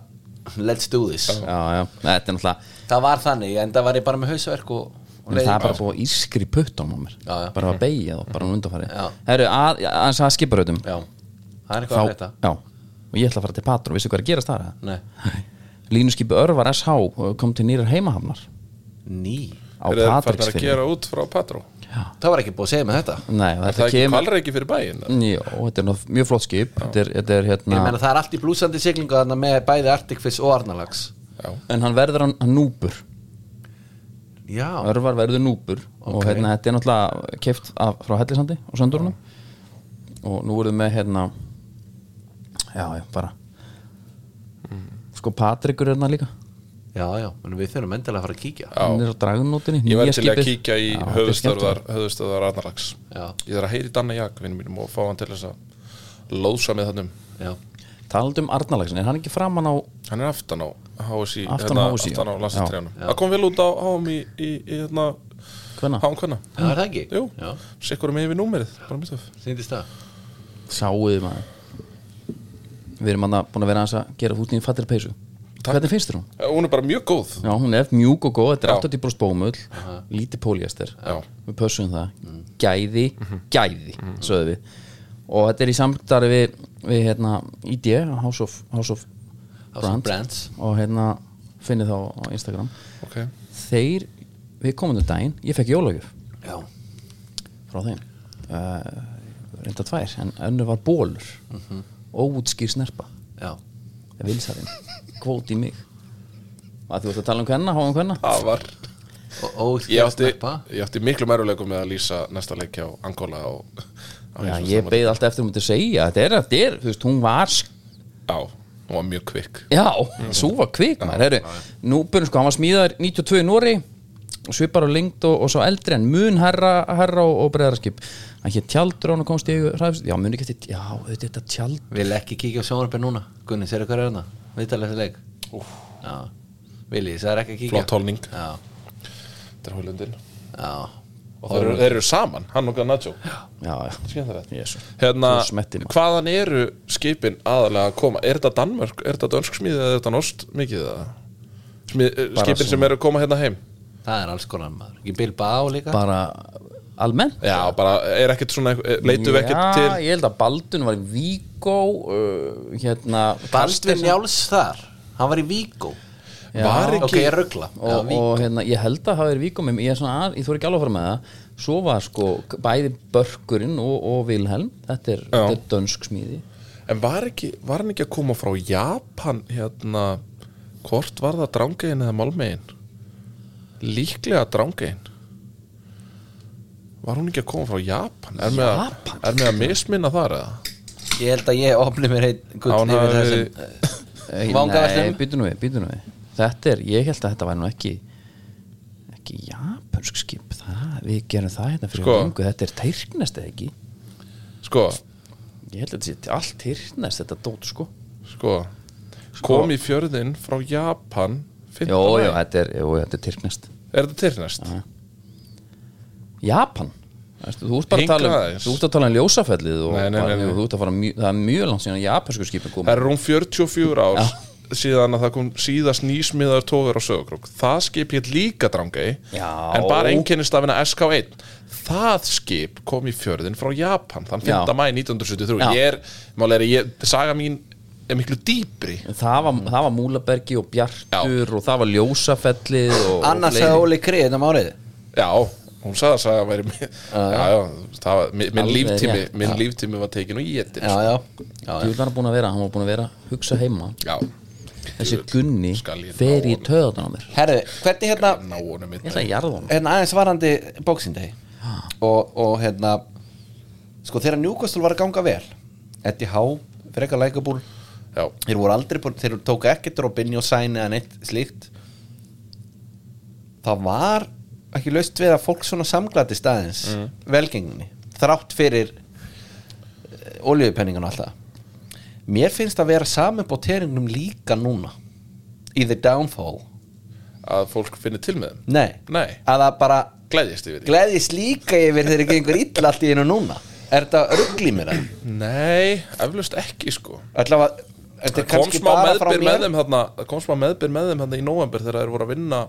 [SPEAKER 2] let's do this
[SPEAKER 1] já, já, þetta er náttúrulega
[SPEAKER 2] það var þannig, en það var ég bara með hausverk og, og
[SPEAKER 1] en
[SPEAKER 2] leið
[SPEAKER 1] það er bara búið ískri putt á mér
[SPEAKER 2] Já, já.
[SPEAKER 1] bara að beigja þá, bara um undanfari
[SPEAKER 2] Já.
[SPEAKER 1] herru, að- aðeins að skiparautum
[SPEAKER 2] já, það er eitthvað að
[SPEAKER 1] já,
[SPEAKER 2] þetta
[SPEAKER 1] og ég ætla að fara til Patron vissu hvað er að gerast þar? eða?
[SPEAKER 2] Nei.
[SPEAKER 1] línuskipi Örvar SH uh, kom til nýrar heimahafnar
[SPEAKER 2] ný,
[SPEAKER 1] á
[SPEAKER 3] Er það farnar að
[SPEAKER 1] Patricksfirði
[SPEAKER 3] gera út frá Patró?
[SPEAKER 2] það var ekki búið að segja með þetta
[SPEAKER 1] Nei, og
[SPEAKER 3] Það
[SPEAKER 1] þetta
[SPEAKER 3] er ekki
[SPEAKER 1] kemur Mm,
[SPEAKER 3] kvalreiki fyrir bæinn eða?
[SPEAKER 1] Jó, þetta er nú mjög flott skip þetta er, þetta er
[SPEAKER 2] ég
[SPEAKER 1] hérna
[SPEAKER 2] meina það er allt í blúsandi siglingu þarna með bæði Arctic Fish og Arnalags
[SPEAKER 3] Já,
[SPEAKER 1] En hann verður hann hann núpur
[SPEAKER 2] já,
[SPEAKER 1] Örvar verður núpur Og
[SPEAKER 2] Ok.
[SPEAKER 1] hérna, þetta er náttúrulega keift af, frá Hellisandi og Söndurnum Og nú eruð með hérna Já, já, bara Sko Patrikur er hérna líka
[SPEAKER 2] já, já, en við þurfum endilega að fara að kíkja
[SPEAKER 3] Já.
[SPEAKER 1] Hann er á dragunótinni
[SPEAKER 3] ég
[SPEAKER 1] nýja
[SPEAKER 3] væri til að
[SPEAKER 1] skipið.
[SPEAKER 3] kíkja í
[SPEAKER 1] Já, þetta er
[SPEAKER 3] höfustöðar
[SPEAKER 1] skemmtilegt.
[SPEAKER 3] höfustöðar Arnarlags
[SPEAKER 2] Já.
[SPEAKER 3] Ég þarf að heyri Danna Jak, vinnum mínum og fá hann til þess að lóðsa með þannum
[SPEAKER 2] já,
[SPEAKER 1] Talandi um Arnalagsin, er hann ekki framan á
[SPEAKER 3] Hann er aftan á HSI
[SPEAKER 1] Aftan á
[SPEAKER 3] hérna,
[SPEAKER 1] HSI, já.
[SPEAKER 3] Aftan á landslæstrjánum
[SPEAKER 2] Já.
[SPEAKER 3] Það kom vel út á HM í, í, í hérna
[SPEAKER 1] Hvenna?
[SPEAKER 3] HM hvenna
[SPEAKER 2] það er það ekki
[SPEAKER 3] Jú,
[SPEAKER 2] já,
[SPEAKER 3] sikkur með yfir númerið Bara mjög töf
[SPEAKER 2] sýndist það
[SPEAKER 1] Sáuði maður Við erum hann búin að vera aðeins að gera húsnýðin fattir peysu
[SPEAKER 3] Takk.
[SPEAKER 1] Hvernig finnst þér hún?
[SPEAKER 3] Eh, Hún er bara mjög góð
[SPEAKER 1] Já, hún er mjúk og góð, þetta er
[SPEAKER 3] Já.
[SPEAKER 1] 80% bómull lítið póliester
[SPEAKER 3] Já. Mm. Mhm.
[SPEAKER 1] við pössum það, gæði gæði, sögðu við og þetta er í samtari við, við hérna, ID, House of, House of
[SPEAKER 2] of
[SPEAKER 1] Brands.
[SPEAKER 2] Brands.
[SPEAKER 1] og hérna finnið þá á Instagram
[SPEAKER 3] Ok
[SPEAKER 1] þeir, við komum til daginn ég fekk jólagjöf
[SPEAKER 2] já,
[SPEAKER 1] frá þeim uh, reynda tvær, en önnu var bólur mm -hmm. óútskýr snerpa
[SPEAKER 2] já
[SPEAKER 1] vilsarinn, kvót í mig að þú ert að tala um hvenna, háum hvenna
[SPEAKER 3] Það var
[SPEAKER 2] og óþjóð
[SPEAKER 3] Ég átti,
[SPEAKER 2] snappa
[SPEAKER 3] ég átti miklu mæruleikum með að lýsa næsta leik hjá Angola og, á
[SPEAKER 1] Já,
[SPEAKER 3] heimsmeistaramótinu.
[SPEAKER 1] ég beið alltaf eftir um þetta að segja þetta er, þetta er, þú veist, hún var sk-
[SPEAKER 3] Já, hún var mjög kvikk
[SPEAKER 1] já, svo var kvik maður, herru, núbun, sko, hann var smíðar 92 í Nóri og svipar á lengt og, og svo eldri en mun herra, herra og, og breyðarskip hann hétt tjaldur og hann komst í hræfst já, mun ekki eftir, já, þetta, þetta tjald
[SPEAKER 2] Vil ekki kíkja á sjónvarpið núna Gunni, sér hvað er hérna? Viðtalið þessi leik Já. Vili, það er ekki að kíkja
[SPEAKER 3] Flott holning.
[SPEAKER 2] Já,
[SPEAKER 3] Þetta er hólundin
[SPEAKER 2] já
[SPEAKER 3] Og þeir eru, þeir eru saman, hann og Garnaccio
[SPEAKER 1] já, já,
[SPEAKER 3] Skemmtilegt
[SPEAKER 1] jésu
[SPEAKER 3] Hérna,
[SPEAKER 1] Svo smettin, maður.
[SPEAKER 3] hvaðan eru skipin aðalega að koma? Er þetta Danmörk, er þetta dönsk smíðið eða er þetta norst mikið eða? Smíð, eh, skipin sem eru að koma hérna heim
[SPEAKER 2] Það er alls konar maður Ekki Bilbao líka
[SPEAKER 1] bara almennt
[SPEAKER 3] Já, bara er ekkert svona, eh, leitum við ekkert
[SPEAKER 1] Já,
[SPEAKER 3] til
[SPEAKER 1] ég held að Baldun var í Víkó uh, hérna
[SPEAKER 2] Baldvin
[SPEAKER 1] Karstensen
[SPEAKER 2] Njáls þar Hann var í Víkó
[SPEAKER 1] Já.
[SPEAKER 3] Var ekki-
[SPEAKER 2] Ok, ég ruggla Já,
[SPEAKER 1] og,
[SPEAKER 2] Víkó.
[SPEAKER 1] og hérna, ég held að það er Víkó með ég er svona, að- ég þóri ekki alveg að fara með það svo var sko bæði Börkurinn og, og Vilhelm, þetta er,
[SPEAKER 3] Já.
[SPEAKER 1] þetta er dönsk smíði
[SPEAKER 3] En var, ekki, var hann ekki að koma frá Japan hérna Hvort var það drangegin eða málmegin? Líklega drangegin Var hún ekki að koma frá Japan? Er með, Japan? Er með að misminna þar eða?
[SPEAKER 2] Ég held að ég opni mér heitt gull
[SPEAKER 3] Án
[SPEAKER 2] yfir
[SPEAKER 3] hafi
[SPEAKER 2] þessum
[SPEAKER 3] verið-
[SPEAKER 1] Ei,
[SPEAKER 2] Vangaveltum?
[SPEAKER 1] býtu nú við, býtu nú við þetta er, ég held að þetta væri nú ekki ekki japansk skip það, við gerum það hérna fyrir
[SPEAKER 3] Sko.
[SPEAKER 1] löngu þetta er tyrknest eða ekki
[SPEAKER 3] Sko,
[SPEAKER 1] ég held að þetta sé allt tyrknest þetta dót sko
[SPEAKER 3] sko, Kom í fjörðin frá Japan fimmta
[SPEAKER 1] Jó,
[SPEAKER 3] maí.
[SPEAKER 1] jó, þetta er, jó, þetta er tyrknest
[SPEAKER 3] Er þetta tilnæst?
[SPEAKER 1] Japan Æstu, Þú ert bara að
[SPEAKER 3] Hingað
[SPEAKER 1] tala um,
[SPEAKER 3] aðeins.
[SPEAKER 1] þú ert að tala um ljósafellið og
[SPEAKER 3] Nei, nei, nei, nei.
[SPEAKER 1] og þú ert að fara mjög, það er mjög langt síðan að japansku skipin
[SPEAKER 3] Það
[SPEAKER 1] koma
[SPEAKER 3] er rúm 44 ár síðan að það kom síðast nýsmiðar tógar á sögurkrók. Það skip hétt líka drangei,
[SPEAKER 1] Já.
[SPEAKER 3] en bara einkennist af hennar SK1. Það skip kom í fjörðin frá Japan, þann
[SPEAKER 1] Já.
[SPEAKER 3] 5. mæ 1973.
[SPEAKER 1] Já.
[SPEAKER 3] Ég er, málega er, ég, saga mín er miklu dýpri.
[SPEAKER 1] Það var, það var Múlabergi og Bjartur og það var ljósafellið og, og
[SPEAKER 2] Annars
[SPEAKER 1] fleiri.
[SPEAKER 2] hefði Óli Krið hérna um þetta márið
[SPEAKER 3] Já, hún sagði að saga væri mér, já, já, það var, minn, minn
[SPEAKER 1] Alveg
[SPEAKER 3] líftími,
[SPEAKER 1] rétt.
[SPEAKER 3] minn líftími var tekin og ég
[SPEAKER 2] Já, já, já, já.
[SPEAKER 1] Djú, hann var búin að vera, hann var búin að vera að hugsa heima
[SPEAKER 3] já,
[SPEAKER 1] Þessi Gunni
[SPEAKER 3] skal ég
[SPEAKER 1] fer
[SPEAKER 3] ná
[SPEAKER 1] í
[SPEAKER 3] honum?
[SPEAKER 1] töðan á mér
[SPEAKER 2] Herðu, hvernig hérna
[SPEAKER 3] ná honum mitt.
[SPEAKER 1] Ég ætla að jarða hann
[SPEAKER 2] en hérna, aðeins varandi bóksindegi og, og hérna sko þegar Newcastle var að ganga vel Eddie Howe, frekar lækabúl
[SPEAKER 3] Já,
[SPEAKER 2] þeir voru aldrei, búin- þeir tóku ekki droppin og sæni eða neitt slíkt það var ekki laust við að fólk svona samglæti staðins mm. velgenginni þrátt fyrir olíupenningun alltaf mér finnst að vera saman bóteringnum líka núna í the downfall
[SPEAKER 3] að fólk finnir til með þeim.
[SPEAKER 2] nei,
[SPEAKER 3] Nei.
[SPEAKER 2] að það bara
[SPEAKER 3] Gleðjast yfir því.
[SPEAKER 2] gleðist líka yfir þegar ekki einhver illa allt í einu núna er þetta ruggli mér að
[SPEAKER 3] Nei, eflaust ekki sko
[SPEAKER 2] allavega, þetta
[SPEAKER 3] Það
[SPEAKER 2] er
[SPEAKER 3] kom
[SPEAKER 2] kannski
[SPEAKER 3] smá
[SPEAKER 2] bara frá
[SPEAKER 3] meðbyr með
[SPEAKER 2] mér
[SPEAKER 3] þeim þarna Það kom smá meðbyr með þeim þarna í november þegar þeir voru að vinna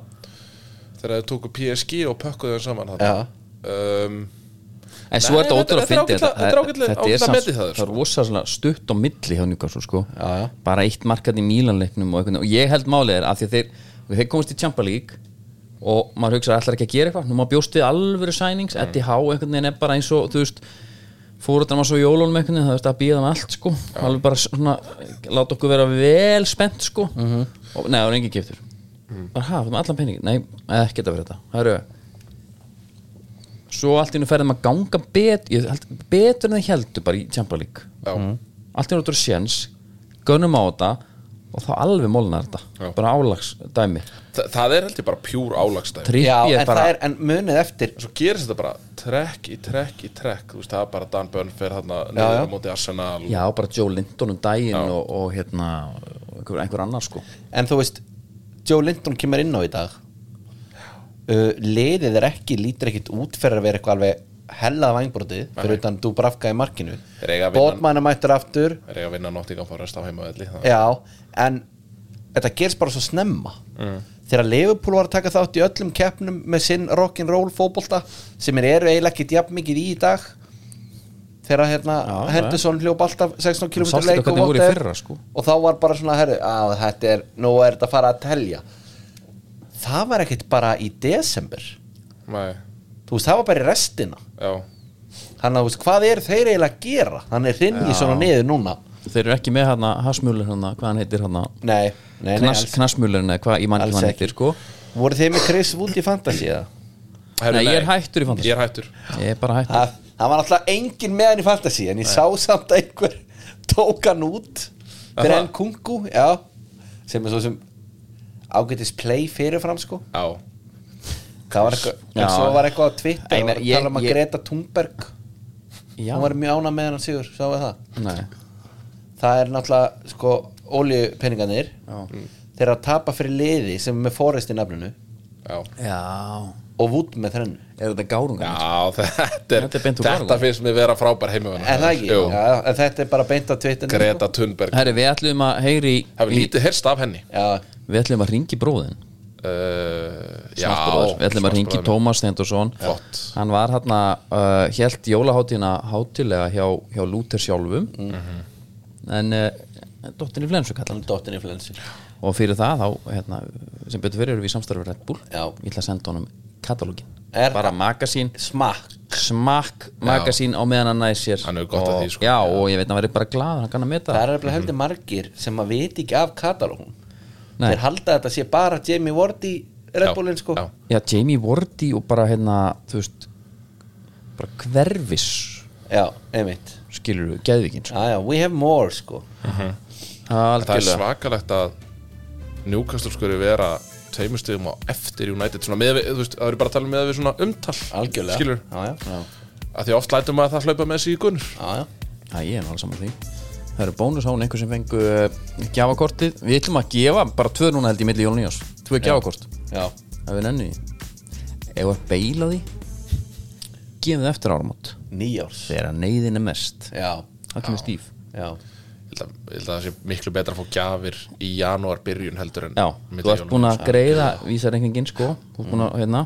[SPEAKER 3] þegar þeir tóku PSG og pökkuðu þeim saman þarna
[SPEAKER 2] Já.
[SPEAKER 3] um,
[SPEAKER 1] En svo
[SPEAKER 3] Nei,
[SPEAKER 1] er þetta
[SPEAKER 3] þetta-
[SPEAKER 1] ótrúlega
[SPEAKER 3] þetta er
[SPEAKER 1] fyndið,
[SPEAKER 3] ágætlega- þetta er ágætlega-
[SPEAKER 1] þetta er
[SPEAKER 3] ágætlega
[SPEAKER 1] samt-
[SPEAKER 3] metið það,
[SPEAKER 1] Það er
[SPEAKER 3] sko.
[SPEAKER 1] rosalega stutt á milli hjá Newcastle sko.
[SPEAKER 2] Já, já.
[SPEAKER 1] bara eitt markat í Mílanleiknum og, einhvern veginn. og ég held málið er að því að þeir, þeir komast í Champa League og maður hugsa ætlar ekki að gera eitthvað nú maður bjóst við alvöru sænings
[SPEAKER 3] Mm.
[SPEAKER 1] Eddie Howe einhvern veginn er bara eins og þú veist fóruðan var svo í jólunum einhvern veginn það veist að býða með allt sko alveg bara svona láta okkur vera vel spennt sko
[SPEAKER 3] Mhm.
[SPEAKER 1] og neða, það er engin kiptur
[SPEAKER 3] Mm.
[SPEAKER 1] bara hafa, það með allan pening nei, ekki þetta fyrir þetta Heru, svo allt í hennu ferðum að ganga bet, ég, held, betur en það heldur bara í Champions League
[SPEAKER 3] Já,
[SPEAKER 2] Mhm.
[SPEAKER 1] allt í hennu áttur séns, gönnum á þetta og þá alveg mólnar þetta
[SPEAKER 3] Já.
[SPEAKER 1] bara álags dæmi
[SPEAKER 3] Þa, Það er held ég bara pjúr álagstæð
[SPEAKER 1] Trippi
[SPEAKER 2] já,
[SPEAKER 1] er
[SPEAKER 2] en,
[SPEAKER 1] bara
[SPEAKER 2] það er, en munið eftir
[SPEAKER 3] Svo gerist þetta bara trekk í trekk í trekk Þú veist, það er bara Dan Bönn fer þarna
[SPEAKER 2] já.
[SPEAKER 3] niður á móti Arsenal
[SPEAKER 1] já, bara Joe Linton um daginn og, og hérna einhver, einhver annar sko
[SPEAKER 2] en þú veist, Joe Linton kemur inn á í dag uh, liðið er ekki lítur ekkit út fyrir að vera eitthvað alveg hellað vangbrotið fyrir utan Dubravka í markinu
[SPEAKER 3] Þeir eiga að vinna.
[SPEAKER 2] Bótmann er mættur aftur
[SPEAKER 3] er ég að vinna nótt í gangi á rest á heima velli
[SPEAKER 2] Já, en þetta gerst bara svo snemma
[SPEAKER 1] Mm.
[SPEAKER 2] þegar Liverpool var að taka þátt í öllum keppnum með sinn rock'n'roll fótbolta sem er eru eiginlega ekki jafn mikið í í dag þegar hérna
[SPEAKER 1] Já,
[SPEAKER 2] Henderson hljóp alltaf 16 km
[SPEAKER 1] sástu
[SPEAKER 2] leik
[SPEAKER 1] þetta hvernig voru í
[SPEAKER 2] whatever.
[SPEAKER 1] fyrra, sko.
[SPEAKER 2] og þá var bara svona herri, að þetta er, nú er þetta að fara að telja það var ekkit bara í desember
[SPEAKER 3] Nei,
[SPEAKER 2] þú veist, það var bara í restina
[SPEAKER 3] já
[SPEAKER 2] þannig að þú veist, hvað er þeir eiginlega að gera þannig hrinn í svona niður núna
[SPEAKER 1] þeir eru ekki með hérna hasmjúlur hérna, hvað hann heitir hérna
[SPEAKER 2] nei Nei, nei,
[SPEAKER 1] knas,
[SPEAKER 2] alls-
[SPEAKER 1] knasmulurinn eða hvað, ég man ekki
[SPEAKER 2] Alls
[SPEAKER 1] hann
[SPEAKER 2] ekki.
[SPEAKER 1] eftir sko.
[SPEAKER 2] voru þið með Chris Wood í Fantasy eða?
[SPEAKER 3] Herru,
[SPEAKER 1] Nei, ég er hættur í fantasy.
[SPEAKER 3] Ég er hættur
[SPEAKER 1] ég er bara hættur
[SPEAKER 2] það það var alltaf engin með hann í Fantasy en ég sá samt að einhver tók hann út Brenn Kungu já, sem er svo sem ágætis play fyrirfram sko
[SPEAKER 3] Já
[SPEAKER 2] það var eitthvað, en
[SPEAKER 1] Já.
[SPEAKER 2] svo var eitthvað á Twitter
[SPEAKER 1] Nei,
[SPEAKER 2] það var
[SPEAKER 1] nei,
[SPEAKER 2] að
[SPEAKER 1] ég-
[SPEAKER 2] tala um að
[SPEAKER 1] ég-
[SPEAKER 2] Greta Thunberg
[SPEAKER 1] Já.
[SPEAKER 2] hún var mjög ána með hann Sigur, sjáum við það
[SPEAKER 1] Nei.
[SPEAKER 2] það er náttúrulega sko ólíupenningarnir
[SPEAKER 1] Já.
[SPEAKER 2] þeir eru að tapa fyrir liði sem er með Forrest í nafninu
[SPEAKER 3] Já,
[SPEAKER 1] Já.
[SPEAKER 2] og Wood með þrennu
[SPEAKER 1] er þetta gárungar?
[SPEAKER 3] já þetta er,
[SPEAKER 1] Þetta er beint úr
[SPEAKER 3] þetta
[SPEAKER 1] garðinum.
[SPEAKER 3] finnst mér vera frábær heimivana
[SPEAKER 2] en það ekki, já, en þetta er bara beint á sko. Twitter
[SPEAKER 3] Greta Thunberg
[SPEAKER 1] Herri, við ætlum að heyri
[SPEAKER 3] Hefur
[SPEAKER 1] í,
[SPEAKER 3] lítið heyrst af henni
[SPEAKER 2] já,
[SPEAKER 1] við ætlum að ringi bróðin
[SPEAKER 3] uh, Já
[SPEAKER 1] við ætlum að ringi
[SPEAKER 3] Svansbróðir.
[SPEAKER 1] Tómas Stendursson
[SPEAKER 3] Flott.
[SPEAKER 1] hann var hann uh, held jólaháttina hátilega hjá, hjá Lúter sjálfum
[SPEAKER 3] Mhm.
[SPEAKER 1] en uh, dóttin í Flensu kallan
[SPEAKER 2] hann dóttin í flensu
[SPEAKER 1] og fyrir það þá, hérna, sem betur fyrir erum við í samstarfi við Red Bull
[SPEAKER 2] Já.
[SPEAKER 1] ég ætla að senda honum katalógin
[SPEAKER 2] Er-
[SPEAKER 1] bara magasín
[SPEAKER 2] smakk
[SPEAKER 1] smakk magasín á meðan hann næði sér
[SPEAKER 3] Hann hefur gott
[SPEAKER 1] og,
[SPEAKER 3] af því, sko.
[SPEAKER 1] já, og ég veit að hann verið bara glaður, hann kann að meta
[SPEAKER 2] það
[SPEAKER 1] það
[SPEAKER 2] er alveg heldur margir sem að viti ekki af katalógun
[SPEAKER 1] Nei.
[SPEAKER 2] þeir halda að þetta sé bara Jamie Ward í Red
[SPEAKER 3] Já,
[SPEAKER 2] Bullin sko
[SPEAKER 3] já.
[SPEAKER 1] já, Jamie Wardy og bara hérna, þú veist bara hverfis
[SPEAKER 2] já einmitt
[SPEAKER 1] skilur við, geðvíkinn sko.
[SPEAKER 2] já, já, we have more sko
[SPEAKER 3] Það er
[SPEAKER 1] algjörlega,
[SPEAKER 3] svakalegt að Newcastle skuri vera tveimur stigum á eftir United svona með, við- þú veist, það eru bara að tala með við svona umtal
[SPEAKER 2] algjörlega
[SPEAKER 3] skilur,
[SPEAKER 2] já, já, já,
[SPEAKER 3] að því oft lætum að það hlaupa með sig í gunnur
[SPEAKER 2] já, já.
[SPEAKER 1] það ég er náttúrulega saman því það eru bónus án einhver sem fengu uh, gjafakortið, við ætlum að gefa bara tvö núna held ég milli Jólun Jóns, tvö gjafakort
[SPEAKER 2] Já,
[SPEAKER 1] ef við nennu því ef við beila því gefum það eftir áramót
[SPEAKER 2] nýjárs
[SPEAKER 1] þegar neyðin er mest
[SPEAKER 2] Já,
[SPEAKER 1] það kemur stíf
[SPEAKER 2] já,
[SPEAKER 3] Ég held að ég held að það sé miklu betra að fá gjafir í janúar byrjun heldur en
[SPEAKER 1] já,
[SPEAKER 3] milli
[SPEAKER 1] þú ert
[SPEAKER 3] jólanna.
[SPEAKER 1] búin að greiða vísarreikningin sko, þú ert búin að hérna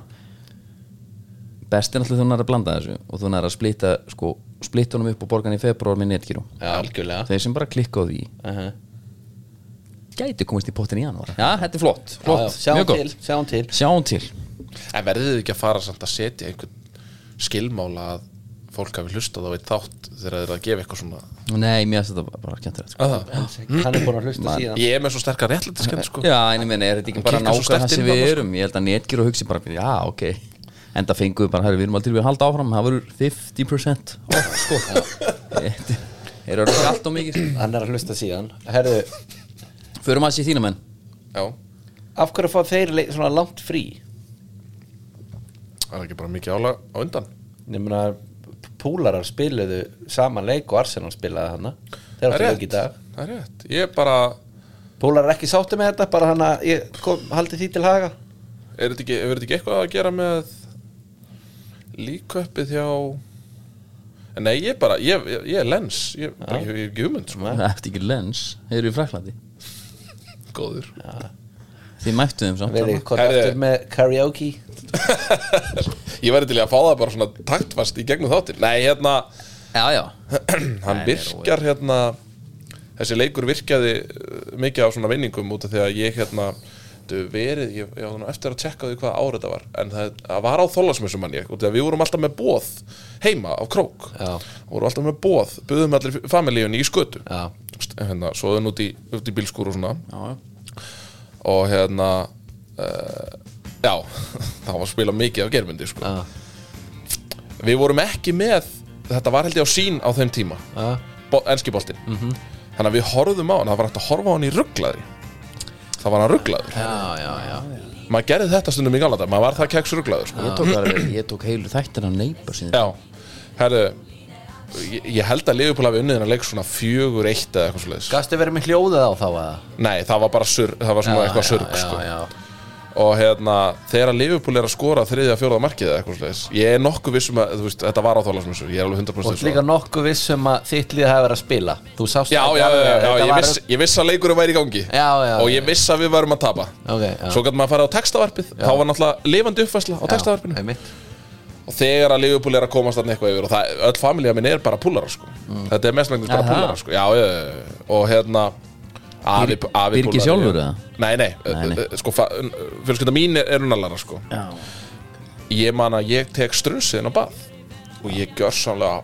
[SPEAKER 1] best er alltaf þú nær að blanda þessu og þú nær að splita sko, splita honum upp og borga hann í februar með netgíru
[SPEAKER 2] já, algjörlega
[SPEAKER 1] þeir sem bara klikka á því
[SPEAKER 2] uh -huh.
[SPEAKER 1] gæti komist í pottin í janúar Uh-huh. já, þetta er flott,
[SPEAKER 2] já, já,
[SPEAKER 1] flott,
[SPEAKER 2] Sjáum
[SPEAKER 1] mjög
[SPEAKER 2] til,
[SPEAKER 1] gott
[SPEAKER 2] sjáum til
[SPEAKER 1] sjáum til,
[SPEAKER 3] En verðið þið ekki að fara samt að setja einhvern skilmála að fólk hafi hlustað á eitt þátt þegar þeir eru að gefa eitthvað svona
[SPEAKER 1] nei, mér finnst þetta bara kjöntur sko.
[SPEAKER 2] Hann er búin að hlusta síðan
[SPEAKER 3] Ég er með svo sterkar réttlætiskennd sko
[SPEAKER 1] Já, en ég meina, er þetta ekki
[SPEAKER 3] Hún
[SPEAKER 1] bara
[SPEAKER 3] kikkar svo
[SPEAKER 1] nákvæm
[SPEAKER 3] sterkt
[SPEAKER 1] það sem
[SPEAKER 3] inn
[SPEAKER 1] við
[SPEAKER 3] þarna, sko.
[SPEAKER 1] erum? Ég held að netgir og hugsi bara, já, ok En það fengum við bara, herri, við erum aldrei við að halda áfram Það verður 50% off, sko Þetta er orðið allt og mikið
[SPEAKER 2] Hann er að hlusta síðan Herðu,
[SPEAKER 1] Förum að sé þína menn
[SPEAKER 3] Já,
[SPEAKER 2] af hverju fá þeir le- svona langt frí?
[SPEAKER 3] það er ekki bara mikið ála á undan
[SPEAKER 2] Nefna, púlarar spiluðu saman leik og Arsenal spilaði hana Þeir
[SPEAKER 3] Það
[SPEAKER 2] áttu
[SPEAKER 3] er
[SPEAKER 2] leik í
[SPEAKER 3] rétt,
[SPEAKER 2] dag
[SPEAKER 3] það er rétt Ég er bara,
[SPEAKER 2] Púlarar er ekki sáttu með þetta, bara hann að ég kom, haldi því til haga
[SPEAKER 3] er þetta ekki, er þetta ekki eitthvað að gera með líköppið hjá En Nei, ég er bara, ég, ég, ég er lens Ég, bara, ég, ég er ekki hugmynd sko.
[SPEAKER 1] Það eftir ekki lens, þeir eru í Fraklandi
[SPEAKER 3] Góður
[SPEAKER 1] Þið mættu þeim samt
[SPEAKER 2] Verið hvað
[SPEAKER 3] Herðu.
[SPEAKER 2] aftur með karaoke
[SPEAKER 3] Ég væri til í að fá það bara svona taktfast í gegnum þáttir Nei, hérna,
[SPEAKER 1] Já, já,
[SPEAKER 3] hann virkar hérna þessi leikur virkaði uh, mikið á svona vinningum út af því að ég hérna þetta hefur verið, ég, ég á þannig eftir að tjekka á því hvað árið það var en það, það var á þólasmessum mann ég út af því að við vorum alltaf með bóð heima á krók
[SPEAKER 2] Já.
[SPEAKER 3] vorum alltaf með bóð, buðum allir familíunni í skötu
[SPEAKER 2] Já.
[SPEAKER 3] hérna, svoðum út í, út í bílskúr og svona
[SPEAKER 1] já, já.
[SPEAKER 3] og hérna uh, já, það var að spila mikið af germyndi sko.
[SPEAKER 2] Já.
[SPEAKER 3] við vorum ekki með þetta var held ég á sín á þeim tíma
[SPEAKER 2] Já. Mhm.
[SPEAKER 3] Bo- enski boltinn þannig að við horfðum á hann, það var hægt að horfa á hann í rugglaði það var hann rugglaður
[SPEAKER 2] Já, já, já
[SPEAKER 3] maður gerði þetta stundum í galanda, maður var það keks rugglaður sko.
[SPEAKER 1] Ég tók, alveg, ég tók heilu þættina neighbor sinni
[SPEAKER 3] já, herðu ég, ég held að Liverpool hafi unnið hennar leik svona fjögur eitt eða eitthvað svoleiðis
[SPEAKER 2] Gastu verið með hljóðið á þá að
[SPEAKER 3] nei, það var bara surg, það var svona eitthvað surg
[SPEAKER 2] já,
[SPEAKER 3] sko.
[SPEAKER 2] já, já.
[SPEAKER 3] og hérna, þegar Liverpool er að skora þriðja, fjóraða markið eða eitthvað slags ég er nokkuð vissum að, þú veist, þetta var á þálasmessu ég er alveg 100%
[SPEAKER 2] Og
[SPEAKER 3] viss um
[SPEAKER 2] líka
[SPEAKER 3] það.
[SPEAKER 2] nokkuð viss um að þitt lið hafi verið að spila Þú sást
[SPEAKER 3] já,
[SPEAKER 2] ekki
[SPEAKER 3] já, já,
[SPEAKER 2] alveg,
[SPEAKER 3] já,
[SPEAKER 2] þetta
[SPEAKER 3] ég,
[SPEAKER 2] var-
[SPEAKER 3] viss, ég viss að leikurinn væri í gangi
[SPEAKER 2] Já, já,
[SPEAKER 3] og
[SPEAKER 2] já.
[SPEAKER 3] ég viss að við varum að tapa
[SPEAKER 2] Ok, já.
[SPEAKER 3] svo gæti maður að fara á textavarpið þá var náttúrulega lifandi uppfæsla á
[SPEAKER 2] Já,
[SPEAKER 3] textavarpinu
[SPEAKER 2] einmitt.
[SPEAKER 3] og þegar að Liverpool er að komast þarna eitthvað yfir og það, öll familja minn er bara púlarar sko.
[SPEAKER 2] Mm.
[SPEAKER 3] þetta er mest langtist bara
[SPEAKER 1] Aha.
[SPEAKER 3] púlarar sko. já, já, já, já. og hérna afi,
[SPEAKER 1] Bir-
[SPEAKER 3] afi
[SPEAKER 1] Birgir
[SPEAKER 3] púllari,
[SPEAKER 1] sjálfur,
[SPEAKER 3] já.
[SPEAKER 1] eða?
[SPEAKER 3] Nei, nei,
[SPEAKER 1] Nei, nei.
[SPEAKER 3] nei. sko, fa- fjölskylda mín er, er unnalara sko. ég man að ég tek strunsiðin á bað og ég gjör sannlega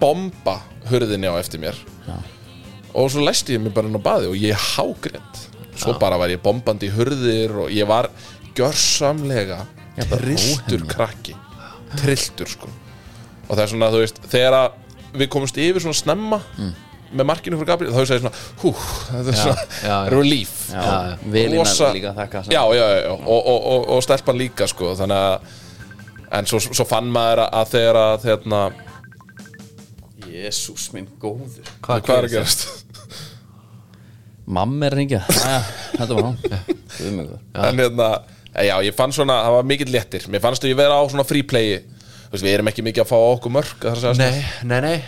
[SPEAKER 3] bomba hurðinni á eftir mér og svo læsti ég mig bara inn á baði og ég hágrið svo bara var ég bombandi í hurðir og ég var gjörsamlega trilltur krakki trilltur sko og það er svona þú veist þegar að við komumst yfir svona snemma með markinu frá Gabriel þá er það svona hú, þetta er svona
[SPEAKER 2] Mm. já, já.
[SPEAKER 3] relief
[SPEAKER 1] Já, Velina
[SPEAKER 3] Rosa-
[SPEAKER 1] líka þakka
[SPEAKER 3] já, já, já, já. Og, og, og, og stelpan líka sko, þannig að en svo, svo fann maður að þegar að hérna, þeirna,
[SPEAKER 1] Jésús minn góður
[SPEAKER 3] hvað, hvað er að gerast
[SPEAKER 1] Mamma er ringja Þetta var hann Guð mig góður.
[SPEAKER 3] en hérna, eh, já, ég fann svona það var mikill léttir, mér fannst að ég vera á svona freeplayi, þú veist, við erum ekki mikið að fá á okkur mörg það er að segja sko.
[SPEAKER 2] Nei, nei, nei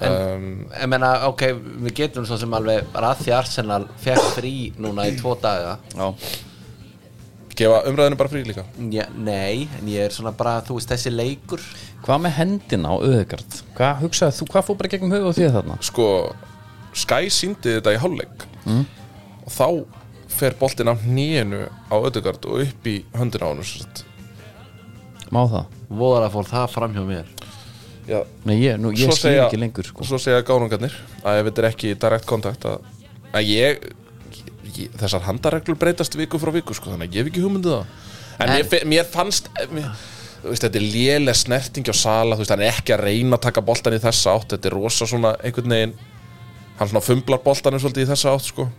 [SPEAKER 2] En,
[SPEAKER 3] Um,
[SPEAKER 2] ég meina, ok, við getum svo sem alveg bara að því Arsenal fekk frí núna í tvo daga
[SPEAKER 1] Já,
[SPEAKER 3] sko, gefa umræðinu bara frí líka
[SPEAKER 2] Já, Nei, en ég er svona bara, þú veist, þessi leikur
[SPEAKER 1] Hvað með hendina á auðegard? Hvað hugsaði þú, hvað fór bara í gegnum huga á því þarna?
[SPEAKER 3] sko, Sky síndi þetta í hálfleik og þá fer boltinn á hnýinu á ödugard og upp í höndina á hann
[SPEAKER 1] Má það?
[SPEAKER 2] voðar að fór það fram hjá mér
[SPEAKER 3] já,
[SPEAKER 1] Nei, ég, nú, ég skil ekki lengur sko.
[SPEAKER 3] svo segja gánungarnir að ef þetta er ekki direkt kontakt að, að ég, ég þessar handareglur breytast viku frá viku sko, þannig að ég hef ekki hugmyndið það en mér, fe- mér fannst eh, mér, þú veist, þetta er léleg snerting á sala þú veist, hann er ekki að reyna að taka boltan í þessa átt þetta er rosa svona einhvern veginn hann svona fumblar boltanum svolítið í þessa átt sko.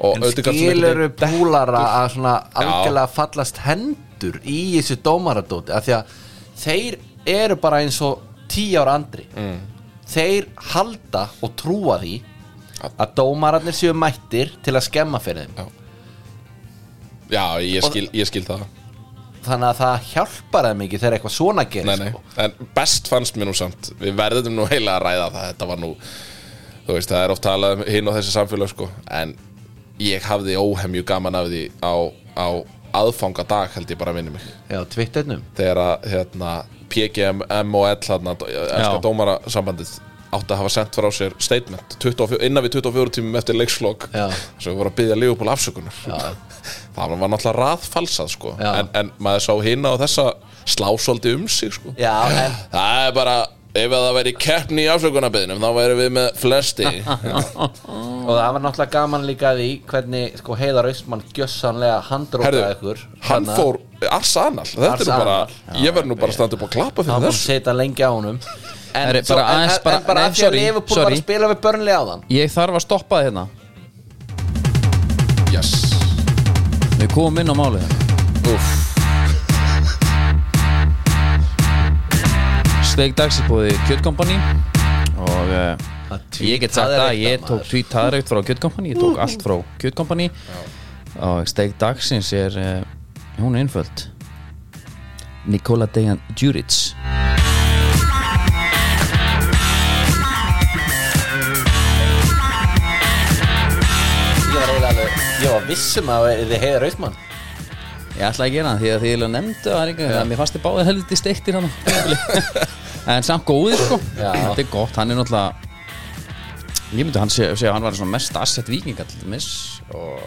[SPEAKER 3] og
[SPEAKER 2] En skiluru púlara að svona algjörlega fallast hendur í þessu dómaradóti af því að þeir eru bara eins og tíu ára andri
[SPEAKER 3] Mm.
[SPEAKER 2] þeir halda og trúa því að dómararnir séu mættir til að skemma fyrir þeim
[SPEAKER 3] já, ég skil, ég skil það
[SPEAKER 2] þannig að það hjálpar þeim ekki þegar eitthvað svona gerir
[SPEAKER 3] nei, nei.
[SPEAKER 2] sko.
[SPEAKER 3] en best fannst mér nú samt við verðum nú heila að ræða það þetta var nú, þú veist, það er oft talað um hinn og þessi samfélag sko en ég hafði óhemju gaman af því á, á aðfangadag held ég bara að vinna mig
[SPEAKER 2] Já, tvitternum
[SPEAKER 3] þegar að hérna, PGM, M og L hérna,
[SPEAKER 1] Já.
[SPEAKER 3] elska dómara sambandið átti að hafa sendt frá sér statement 24, innan við 24 tímum eftir leikslokk
[SPEAKER 2] Já.
[SPEAKER 3] sem voru að byggja Liverpool afsökunar það var náttúrulega raðfalsað sko.
[SPEAKER 2] Já.
[SPEAKER 3] en, en maður sá hinna og þessa slásoldi um sig sko.
[SPEAKER 2] Já, en
[SPEAKER 3] það er bara ef að það væri keppni í afsökunarbyðnum þá væri við með flesti
[SPEAKER 2] Og það var náttúrulega gaman líka að því hvernig sko, Heiðar Austmann gjössanlega handrótaði
[SPEAKER 3] Herðu,
[SPEAKER 2] ykkur hérna.
[SPEAKER 3] hann
[SPEAKER 2] Þannig að
[SPEAKER 3] fór arsanal, þetta er nú bara
[SPEAKER 2] Arsenal.
[SPEAKER 3] ég verð nú bara að standa upp og
[SPEAKER 2] hann
[SPEAKER 3] klappa fyrir
[SPEAKER 2] búin að
[SPEAKER 3] þessu
[SPEAKER 2] setja lengi á honum En,
[SPEAKER 1] Herri,
[SPEAKER 2] svo,
[SPEAKER 1] bara
[SPEAKER 2] en,
[SPEAKER 1] aðeins
[SPEAKER 2] en,
[SPEAKER 1] bara-
[SPEAKER 2] en bara
[SPEAKER 1] nei,
[SPEAKER 2] að því að
[SPEAKER 1] sorry,
[SPEAKER 2] Liverpool var
[SPEAKER 1] sorry.
[SPEAKER 2] að spila við börnli á þann
[SPEAKER 1] Ég þarf að stoppa þið hérna
[SPEAKER 3] yes.
[SPEAKER 1] Við komum inn á málið hérna
[SPEAKER 3] Úff.
[SPEAKER 1] Steik dagsins búið í Kjöt Company og uh, ég get sagt að ég tók tvít aðrækt frá Kjöt Company ég tók allt frá Kjöt Company og steik dagsins er uh, hún er einföld Nikola Dejan Djuric
[SPEAKER 2] Ég var eiginlega alveg Ég var vissum að það er Heiðar Austmann
[SPEAKER 1] Ég ætlaði að gera það því að því ég nefndi það einhvern veginn að mér fannst þið báðið helviti steiktir hann en samt góðir sko
[SPEAKER 2] Já.
[SPEAKER 1] þetta er gott, hann er náttúrulega ég myndi hann segja segja að hann var svona mest asset vikinga til dæmis og,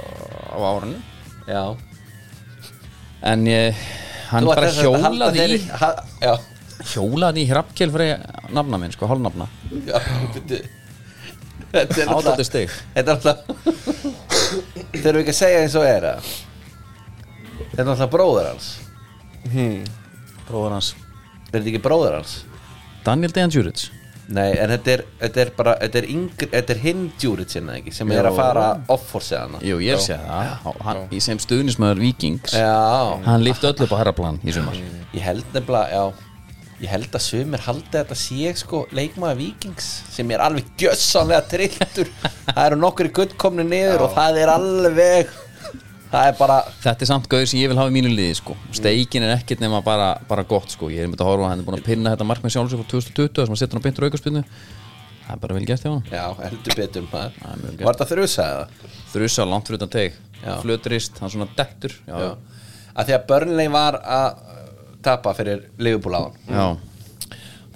[SPEAKER 1] á árunni
[SPEAKER 2] Já
[SPEAKER 1] en ég, hann
[SPEAKER 2] Þú
[SPEAKER 1] bara
[SPEAKER 2] ætlar sem sagt að halda
[SPEAKER 1] hjólaði í
[SPEAKER 2] þeirri- ha- Já
[SPEAKER 1] hjólaði í hrafkel fyrir nafna minn sko, hálfnafna
[SPEAKER 2] Já, byrju. Þetta er
[SPEAKER 1] átlættu
[SPEAKER 2] náttúrulega
[SPEAKER 1] steik
[SPEAKER 2] Þetta er náttúrulega Þeir eru ekki að segja eins og er að Þetta er náttúrulega bróður hans
[SPEAKER 1] bróður hans
[SPEAKER 2] Þetta er ekki bróður hans
[SPEAKER 1] Daniel Dejan Djuric
[SPEAKER 2] Nei, en þetta er, þetta er bara Þetta er, yngri, þetta er hinn djúritsinn ekki sem er
[SPEAKER 1] Jó.
[SPEAKER 2] að fara off-force hana
[SPEAKER 1] Jú, ég sé það, Á- hann, í sem stuðnismöður vikings
[SPEAKER 2] Já,
[SPEAKER 1] hann lífti öllu upp á herraplan í sumar
[SPEAKER 2] ég held nefnilega já, Ég held að sumir haldi að þetta sé sko leikmaður vikings sem er alveg gjössanlega trilltur Það eru nokkur í gutt komni niður og það er alveg Það er bara
[SPEAKER 1] Þetta er samt gauður sem ég vil hafa í mínu liði sko.
[SPEAKER 2] Mm.
[SPEAKER 1] Steikin er ekkert nema bara, bara gott sko. Ég er myndið að horfa að hann er búin að pinna þetta markmið sjálfsög frá 2020 sem að setja hann á beintur aukarspinnu Það er bara vel gert hjá hann
[SPEAKER 2] Já, heldur betur maður
[SPEAKER 1] er mjög gott.
[SPEAKER 2] Var þetta þrjusa eða?
[SPEAKER 1] Þrusa langt fyrir utan teg
[SPEAKER 2] Já.
[SPEAKER 1] Flötrist, hann svona dettur Já,
[SPEAKER 2] Já
[SPEAKER 1] já.
[SPEAKER 2] Að því að Burnley var að tapa fyrir Liverpool á hann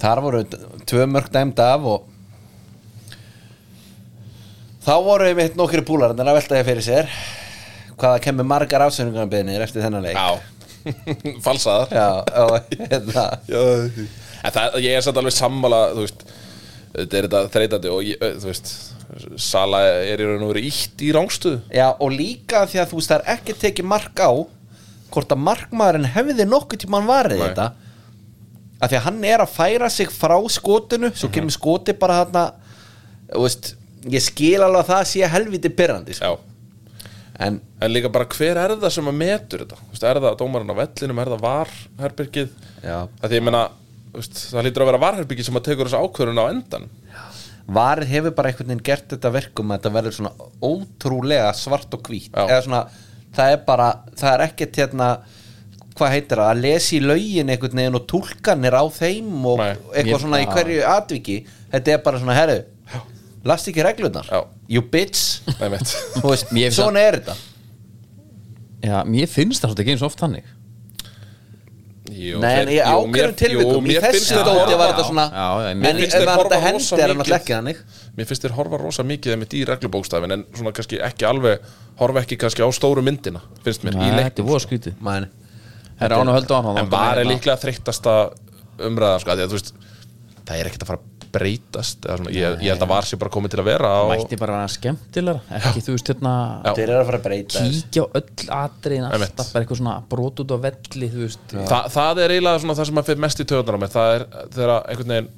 [SPEAKER 2] Þar voru t- tvö mörg dæmd af og þá voru við mitt nokkri búlar en það er að velta þér fyrir sér hvaða kemur margar ásöningarbeðinir eftir þennan leik
[SPEAKER 3] já, falsaðar
[SPEAKER 2] Já, og hérna
[SPEAKER 3] en það, ég er samt alveg sammála þú veist, þetta er þetta þreytandi og ég, þú veist Sala er í raun og verið ítt í rángstöðu
[SPEAKER 2] Já, og líka því að þú veist, það er ekki tekið mark á hvort að markmaðurinn hefði nokkuð tímann varið
[SPEAKER 3] Nei.
[SPEAKER 2] þetta að því að hann er að færa sig frá skotinu
[SPEAKER 3] Mhm.
[SPEAKER 2] svo kemur skoti bara þarna þú veist, ég skil alveg að það sé helviti pyrrandi sko.
[SPEAKER 3] Já,
[SPEAKER 2] en
[SPEAKER 3] en líka bara hver er það sem að metur þetta Þú veist, Er það dómarinn á vellinum, er það varherbergið
[SPEAKER 2] Já.
[SPEAKER 3] Það því ég meina, þú veist, það lítur að vera varherbergið sem að tekur þessu ákvörun á endan
[SPEAKER 2] varið hefur bara einhvern veginn gert þetta verkum að þetta verður svona ótrúlega svart og hvít
[SPEAKER 3] Já.
[SPEAKER 2] eða svona, það er bara, það er ekkert hérna hvað heitir það, að lesi í lögin einhvern veginn og túlkanir á þeim og
[SPEAKER 3] Nei.
[SPEAKER 2] eitthvað
[SPEAKER 1] Ég-
[SPEAKER 2] svona í hverju atviki þetta er bara svona, herru, last ekki reglurnar
[SPEAKER 3] Já.
[SPEAKER 2] you bitch
[SPEAKER 3] Nei, mitt
[SPEAKER 2] Þú veist,
[SPEAKER 1] Mér finnst
[SPEAKER 2] svona er þetta
[SPEAKER 1] Já, mér finnst það svolítið ekki eins oft þannig
[SPEAKER 3] Jú,
[SPEAKER 2] Nei, en
[SPEAKER 3] þeir-
[SPEAKER 2] í
[SPEAKER 3] jú, mér-
[SPEAKER 2] ákveðum
[SPEAKER 3] jú,
[SPEAKER 2] tilvikum, í
[SPEAKER 3] mér finnst
[SPEAKER 2] þessu
[SPEAKER 3] þetta
[SPEAKER 2] dóti
[SPEAKER 3] horfa-
[SPEAKER 2] var þetta svona
[SPEAKER 1] Já, já,
[SPEAKER 2] en
[SPEAKER 1] mér
[SPEAKER 2] ef
[SPEAKER 3] finnst þeir
[SPEAKER 2] var þetta
[SPEAKER 3] horfa
[SPEAKER 2] hendi
[SPEAKER 3] rosa
[SPEAKER 2] er hann
[SPEAKER 3] mikið.
[SPEAKER 2] alltaf ekki þannig
[SPEAKER 3] Mér finnst þér horfa rosa mikið einmitt í reglubókstafin en svona kannski ekki alveg horfa ekki kannski á stóru myndina finnst mér í
[SPEAKER 1] Nei,
[SPEAKER 3] leik
[SPEAKER 1] Þetta er voða skrítið
[SPEAKER 2] Man,
[SPEAKER 1] Það er án og höldu án
[SPEAKER 3] en var er líklega þreyttasta umræða sko, af því að þú veist það er ekkert að fara að breytast eða svona, ég, ég held að var sér bara komið til að vera og,
[SPEAKER 1] Mætti bara vera skemmtilegra Ekki, þú veist, hérna
[SPEAKER 3] Já.
[SPEAKER 2] þeir eru að fara að breyta þessu.
[SPEAKER 1] Kíkja á öll atriðin
[SPEAKER 3] Einmitt.
[SPEAKER 1] alltaf Bara eitthvað svona brot út á velli, þú veist
[SPEAKER 3] Þa, það er eiginlega svona það sem maður fyrir mest í töðunar á mig það er þegar að einhvern veginn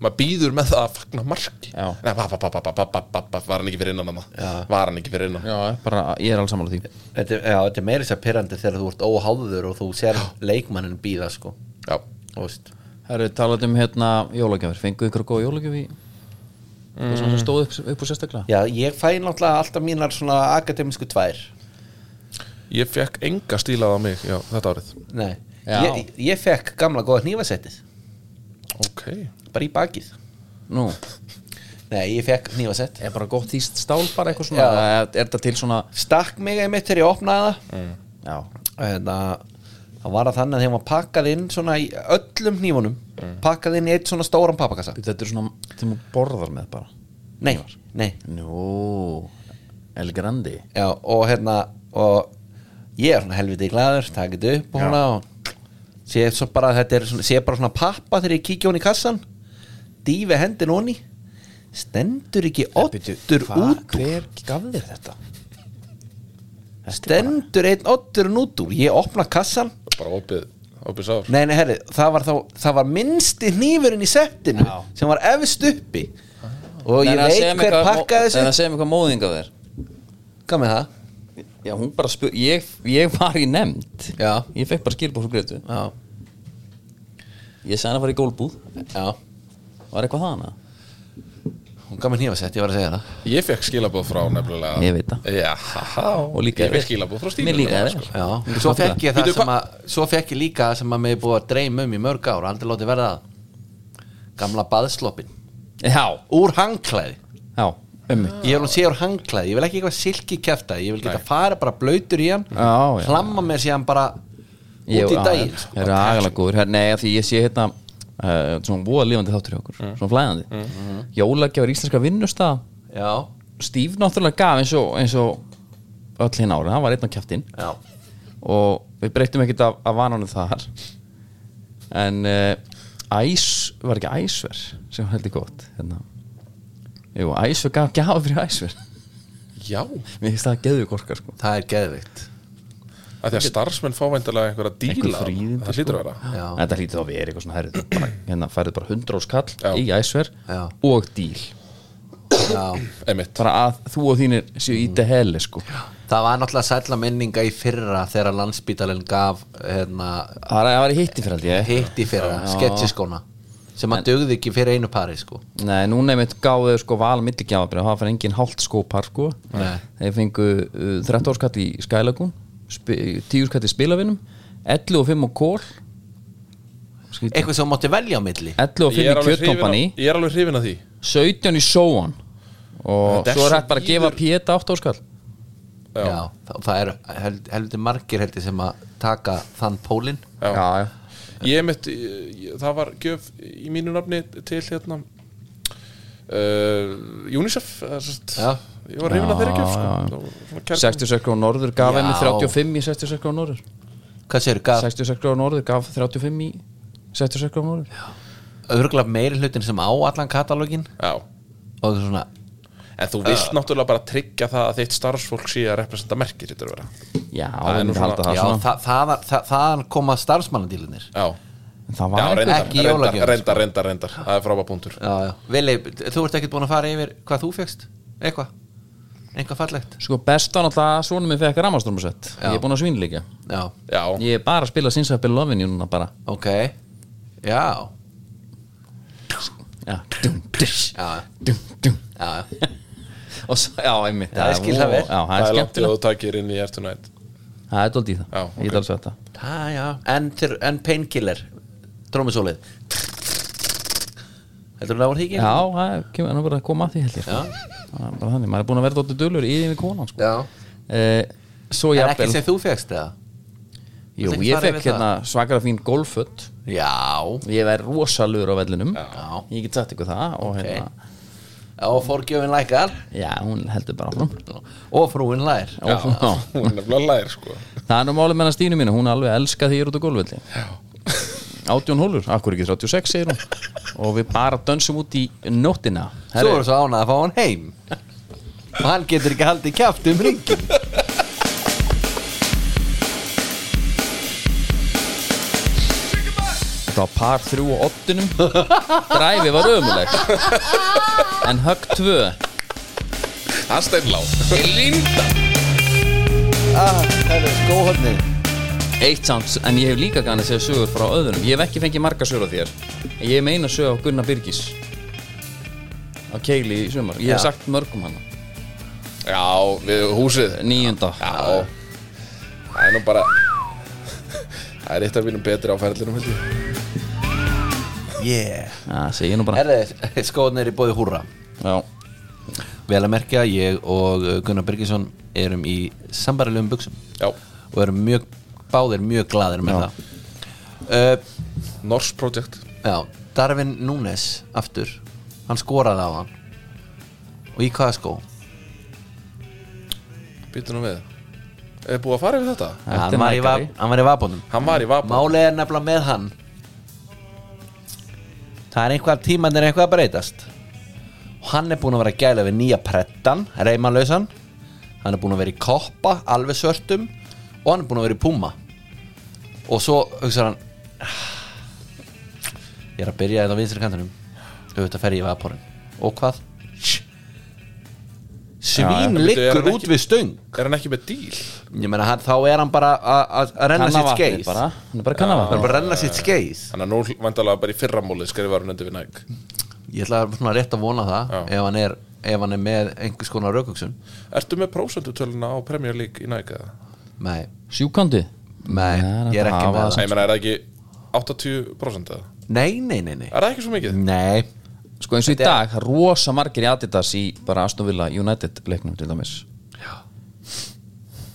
[SPEAKER 3] maður býður með það að fagna marki
[SPEAKER 1] Já.
[SPEAKER 3] Nei, bap, bap, bap, bap, bap, bap, bap, var hann ekki fyrir innan hana? var hann ekki fyrir innan
[SPEAKER 1] Já, bara, ég er alls sammála því
[SPEAKER 2] Þetta er, já, þetta er meira sér pyrrandi þegar þú ert óháður og þú sér leikmannin býða sko
[SPEAKER 3] Já.
[SPEAKER 2] Þú veist.
[SPEAKER 1] Herru, talað um hérna jólagjafir Fenguðu ykkur góða jólagjaf í Það sem stóð upp, upp úr sérstaklega
[SPEAKER 2] Já, ég fæ náttúrulega alltaf mínar svona akademisku tvær
[SPEAKER 3] ég fekk enga stílað á mig já, þetta árið
[SPEAKER 2] Nei,
[SPEAKER 1] Já.
[SPEAKER 2] ég, ég fekk gamla góða hnífasettið
[SPEAKER 3] ok,
[SPEAKER 2] bara í bakið
[SPEAKER 1] Nú,
[SPEAKER 2] Nei, ég fekk hnífasett
[SPEAKER 1] er bara gott íst stál bara eitthvað svona
[SPEAKER 2] Já.
[SPEAKER 1] Eða Er, er það til svona
[SPEAKER 2] Stakk mig einmitt þegar ég opnaði það
[SPEAKER 1] Já,
[SPEAKER 2] en að það var að þannig að þeim var pakkað inn svona í öllum hnífunum pakkað inn í eitt svona stóran pappakassa
[SPEAKER 1] þetta er svona Þeim hún borðar með bara
[SPEAKER 2] nei, nei,
[SPEAKER 1] Nú, El Grandi
[SPEAKER 2] já, og hérna og ég er svona helviti glæður takit upp og hana og sé, svo bara, þetta er svona, sé bara svona pappa þegar ég kíkja hún í kassan dýfi hendin honni stendur ekki ottur út úr
[SPEAKER 1] Hver gaf þér þetta?
[SPEAKER 2] stendur einn ottur út úr ég opna kassan
[SPEAKER 3] bara opið, opið sár
[SPEAKER 2] Nei, nei, herri, það var, þá, það var minnsti hnífurinn í settinu
[SPEAKER 1] Já.
[SPEAKER 2] sem var efst uppi og ég veit hver pakkaði þessu
[SPEAKER 1] En að segja mig hvað móðinga þér
[SPEAKER 2] Hvað með það?
[SPEAKER 1] Já, hún bara spur Ég, ég var í nefnd
[SPEAKER 2] Já.
[SPEAKER 1] Ég fekk bara skilbúr frá Gretu
[SPEAKER 2] Já,
[SPEAKER 1] Ég sagði hann að fara í gólbúð
[SPEAKER 2] já,
[SPEAKER 1] Var eitthvað það hana?
[SPEAKER 2] hún gaf mér hnífasett, ég var að segja það
[SPEAKER 3] ég fekk skilabóð frá nefnilega
[SPEAKER 1] Ég veit það.
[SPEAKER 3] já,
[SPEAKER 1] Og líka
[SPEAKER 3] ég
[SPEAKER 1] þér.
[SPEAKER 3] fekk skilabóð frá sko. stílinu
[SPEAKER 1] Mér líka þér
[SPEAKER 2] Já, svo fekk ég það
[SPEAKER 3] Bíddu,
[SPEAKER 2] sem að svo fekk ég líka það sem að mig er búið að dreyma um í mörg ár, aldrei látið verða það Gamla baðsloppin
[SPEAKER 1] Já,
[SPEAKER 2] Úr hangklæði
[SPEAKER 1] já, ummi
[SPEAKER 2] Ég vil hún sé úr hangklæði, ég vil ekki eitthvað silki kæfta Ég vil geta fara bara blautur í hann
[SPEAKER 1] Já, hérna- já.
[SPEAKER 2] Hlamma mér síðan bara út í daginn sko.
[SPEAKER 1] Það er agalega góður Her- Nei, af því ég sé hérna uh, Svona voða lifandi þáttur hjá okkur Svona flæðandi mm. Jólagjafur íslenska vinnustaf
[SPEAKER 2] Já,
[SPEAKER 1] Stíf náttúrulega gaf eins og, eins og öll hinn ára, hann var einn á kjæftin
[SPEAKER 2] já
[SPEAKER 1] og við breytum ekkert af, af vananum þar en uh, æs, var ekki æsver sem var heldur gott hérna. Jú, æsver gaf gjafa fyrir æsver
[SPEAKER 3] já,
[SPEAKER 1] mér finnst það að geðu korka sko
[SPEAKER 2] Það er geðvikt
[SPEAKER 3] að því að starfsmenn fá væntalega einhverja
[SPEAKER 1] Einhver
[SPEAKER 3] díla
[SPEAKER 1] fríðindi, sko.
[SPEAKER 3] það hlýtur að vera
[SPEAKER 2] Já.
[SPEAKER 1] þetta hlýtur þá að vera eitthvað svona herrið þú bara, hérna færðu bara 100 skall
[SPEAKER 3] Já.
[SPEAKER 1] í æsver
[SPEAKER 2] Já.
[SPEAKER 1] og díl
[SPEAKER 2] Já.
[SPEAKER 3] einmitt,
[SPEAKER 1] bara að þú og þínir séu í þetta heli sko
[SPEAKER 2] Það var náttúrulega sætla minninga í fyrra þegar landsbítalinn gaf hérna,
[SPEAKER 1] það var- það var í hitti fyrir held ég
[SPEAKER 2] hitt í fyrra, sketchiskóna sem að dugði ekki fyrir einu pari sko.
[SPEAKER 1] Nei, núna einmitt gáðu þau sko val milligjafabrið, það fann engin hálft skópar sko,
[SPEAKER 2] Nei.
[SPEAKER 1] þeir fengu uh, 13 skatt í Skylagun 10 skatt í spilavinum 11 og 5 á kól Skrítið.
[SPEAKER 2] Eitthvað sem þú mátti velja á milli
[SPEAKER 1] 11 og 5
[SPEAKER 3] ég er
[SPEAKER 1] í
[SPEAKER 3] alveg hrifin
[SPEAKER 1] kjötkompani
[SPEAKER 3] af- ég er alveg hrifin að því
[SPEAKER 1] 17 í sóan og
[SPEAKER 3] Þetta er
[SPEAKER 1] svo er
[SPEAKER 3] svo
[SPEAKER 1] hægt bara að gefa E
[SPEAKER 3] víður.
[SPEAKER 1] Péta 8 áskall
[SPEAKER 3] Já.
[SPEAKER 2] Já, þá- það er held, heldur margir heldur sem að taka þann pólinn
[SPEAKER 3] Já.
[SPEAKER 1] já,
[SPEAKER 3] ég mitt, ég- það var gjöf í mínu nafni til hérna uh, UNICEF eða sem sagt,
[SPEAKER 2] Já.
[SPEAKER 3] ég var hrifin að þeirra gjöf sko. Það var svona
[SPEAKER 1] já.
[SPEAKER 3] kærkomin.
[SPEAKER 1] 66 gráð norður gaf
[SPEAKER 2] Já.
[SPEAKER 1] henni 35 í 66 gráð norður
[SPEAKER 2] Hvað séu, gaf
[SPEAKER 1] 66 gráð norður gaf 35 í 66 gráð norður
[SPEAKER 2] örgulega meiri hlutin sem á allan katalógin
[SPEAKER 3] Já. Uh.
[SPEAKER 2] og það er svona
[SPEAKER 3] en þú vilt náttúrulega bara tryggja það að þitt starfsfólk sé að representa merkið þetta vera
[SPEAKER 1] Já,
[SPEAKER 3] er
[SPEAKER 1] ég
[SPEAKER 3] nú
[SPEAKER 1] myndi
[SPEAKER 3] svona-
[SPEAKER 1] halda það
[SPEAKER 2] Já,
[SPEAKER 1] svona
[SPEAKER 2] það, það, var- það, þaðan koma starfsmannadílunir
[SPEAKER 3] já,
[SPEAKER 1] En Það
[SPEAKER 3] já
[SPEAKER 1] var eitthvað
[SPEAKER 3] reyndar,
[SPEAKER 2] ekki
[SPEAKER 3] reyndar,
[SPEAKER 2] jólagjöf,
[SPEAKER 3] reyndar, reyndar, reyndar, það er frábæð punktur
[SPEAKER 2] Já, já Vili, þú ert ekkert búin að fara yfir hvað þú fegst Eitthvað Eitthvað fallegt
[SPEAKER 1] Sko best var náttúrulega að svona minn fekk ramastormusett
[SPEAKER 2] Já.
[SPEAKER 1] Ég er búin að svínuleika
[SPEAKER 2] Já,
[SPEAKER 3] já,
[SPEAKER 1] Ég er bara að spila sinnsæpil lofinni núna bara
[SPEAKER 2] ok Já,
[SPEAKER 1] Já, dum, dush,
[SPEAKER 2] Já.
[SPEAKER 1] dum, dum
[SPEAKER 2] já, já
[SPEAKER 1] Og svo, já, einmitt
[SPEAKER 2] Það er
[SPEAKER 1] vó,
[SPEAKER 2] skilja vel.
[SPEAKER 1] Já, það
[SPEAKER 3] það
[SPEAKER 1] er
[SPEAKER 3] er langt í að
[SPEAKER 1] skemmtilegt
[SPEAKER 3] þú takir inn í Ertunætt
[SPEAKER 1] Það er doldið í það
[SPEAKER 3] Já,
[SPEAKER 1] Ég
[SPEAKER 3] ok.
[SPEAKER 1] get alveg sagt það
[SPEAKER 2] Það, já En, til- en painkiller Drómusólið Heldur þú náður híkinn?
[SPEAKER 1] Já, það er- kemur hann er bara að koma að því held ég sko.
[SPEAKER 2] Já.
[SPEAKER 1] Það er bara þannig, maður er búin að vera dóttu dölur í því við konan sko.
[SPEAKER 2] Já
[SPEAKER 1] eh, Svo
[SPEAKER 2] En ekki
[SPEAKER 1] jafnvel
[SPEAKER 2] sem þú fegst eða?
[SPEAKER 1] Jú,
[SPEAKER 2] ekki
[SPEAKER 1] ég
[SPEAKER 2] fara
[SPEAKER 1] fekk
[SPEAKER 2] yfir
[SPEAKER 1] hérna svakara fín golföt
[SPEAKER 2] Já
[SPEAKER 1] Ég væri rosalur á vellinum
[SPEAKER 2] Já.
[SPEAKER 1] Ég get sagt ykkur það og, hérna,
[SPEAKER 2] Og forgjöfin lækar
[SPEAKER 1] Já, hún heldur bara áfram
[SPEAKER 2] Og frúin lær
[SPEAKER 1] Já, já.
[SPEAKER 3] hún er nefnilega lær sko
[SPEAKER 1] Það er nú málið með hann Stínu mínu, hún alveg elska því ég er út á golfvelli Átjón hólur, akkur ekki 36 segir hún Og við bara dönsum út í nóttina
[SPEAKER 2] Þú voru svo ánað að fá hann heim Og hann getur ekki haldið kjátt um ringin
[SPEAKER 1] Þetta var par þrjú á ottinum Dræfi var ömuleg En högg tvö
[SPEAKER 3] hann stein lág
[SPEAKER 2] ah, Það er skóhorni
[SPEAKER 1] Eitt samt, en ég hef líka gana segja sögur frá öðrum Ég hef ekki fengið marga sögur á þér En ég hef meina sögur á Gunnar Byrgis Á Keili í sumar Ég hef
[SPEAKER 2] Já.
[SPEAKER 1] sagt mörgum hana
[SPEAKER 3] já, við húsið
[SPEAKER 1] Níunda
[SPEAKER 3] já, það er nú bara það er eitt af mínum betri á ferlinum held ég
[SPEAKER 2] Yeah
[SPEAKER 1] Það segi ég nú bara
[SPEAKER 2] Herðu, skóhorni er í bóði húra
[SPEAKER 1] Já,
[SPEAKER 2] Vel að merkja, ég og Gunnar Birgisson erum í sambarilegum buksum
[SPEAKER 3] já,
[SPEAKER 2] og erum mjög, báðir mjög glaðir með það uh,
[SPEAKER 3] Nors Project
[SPEAKER 2] Já, Darvin Núnes aftur, hann skoraði á hann og í hvaða skó?
[SPEAKER 3] býtu nú við er búið að fara yfir þetta?
[SPEAKER 1] Þetta er
[SPEAKER 2] Hann var, í
[SPEAKER 1] markari.
[SPEAKER 2] vab, hann var í vabunum
[SPEAKER 3] hann var í Vapa
[SPEAKER 2] Málið er nefnilega með hann Það er einhvað tíman er eitthvað að breytast og hann er búinn að vera að gæla við nýja prettan reymalausan hann er búinn að vera í koppa, alveg svörtum og hann er búinn að vera í púma og svo hugsaði hann "Ah, ég er að byrja þetta á vinstri kantinum auðvitað fer ég í vaporinn og hvað? Shh. Svín
[SPEAKER 3] Já, já. Bíddu, er
[SPEAKER 2] liggur
[SPEAKER 3] hann
[SPEAKER 2] út
[SPEAKER 3] ekki-
[SPEAKER 2] við stöng
[SPEAKER 3] er hann ekki með díl?
[SPEAKER 2] ég meina hann, þá er hann bara að- að að renna sitt
[SPEAKER 1] kannavatni
[SPEAKER 2] skeið
[SPEAKER 1] bara Hann er bara kannavatni
[SPEAKER 2] Það er bara að renna sitt skeið
[SPEAKER 3] Þannig að nú vandalega bara í fyrramólið skrifar hún undir við næg
[SPEAKER 2] Ég ætla að svona rétt að vona það
[SPEAKER 3] Já.
[SPEAKER 2] ef hann, er, ef hann er með einhvers konar raukugsun
[SPEAKER 3] Ertu með prósendutöluna á Premier League í næg eða?
[SPEAKER 2] Nei,
[SPEAKER 1] Sjúkandi
[SPEAKER 2] nei,
[SPEAKER 1] Nei,
[SPEAKER 2] ég er ekki
[SPEAKER 1] það
[SPEAKER 2] með
[SPEAKER 1] var
[SPEAKER 2] það
[SPEAKER 3] Nei, ég meina, er það ekki 80% eða?
[SPEAKER 2] Nei, nei, nei, nei
[SPEAKER 3] Er það ekki svo mikið?
[SPEAKER 2] Nei,
[SPEAKER 1] Sko eins og í
[SPEAKER 2] Þetta
[SPEAKER 1] dag, það er rosa margir í Adidas í bara Aston Villa United leiknum til dæmis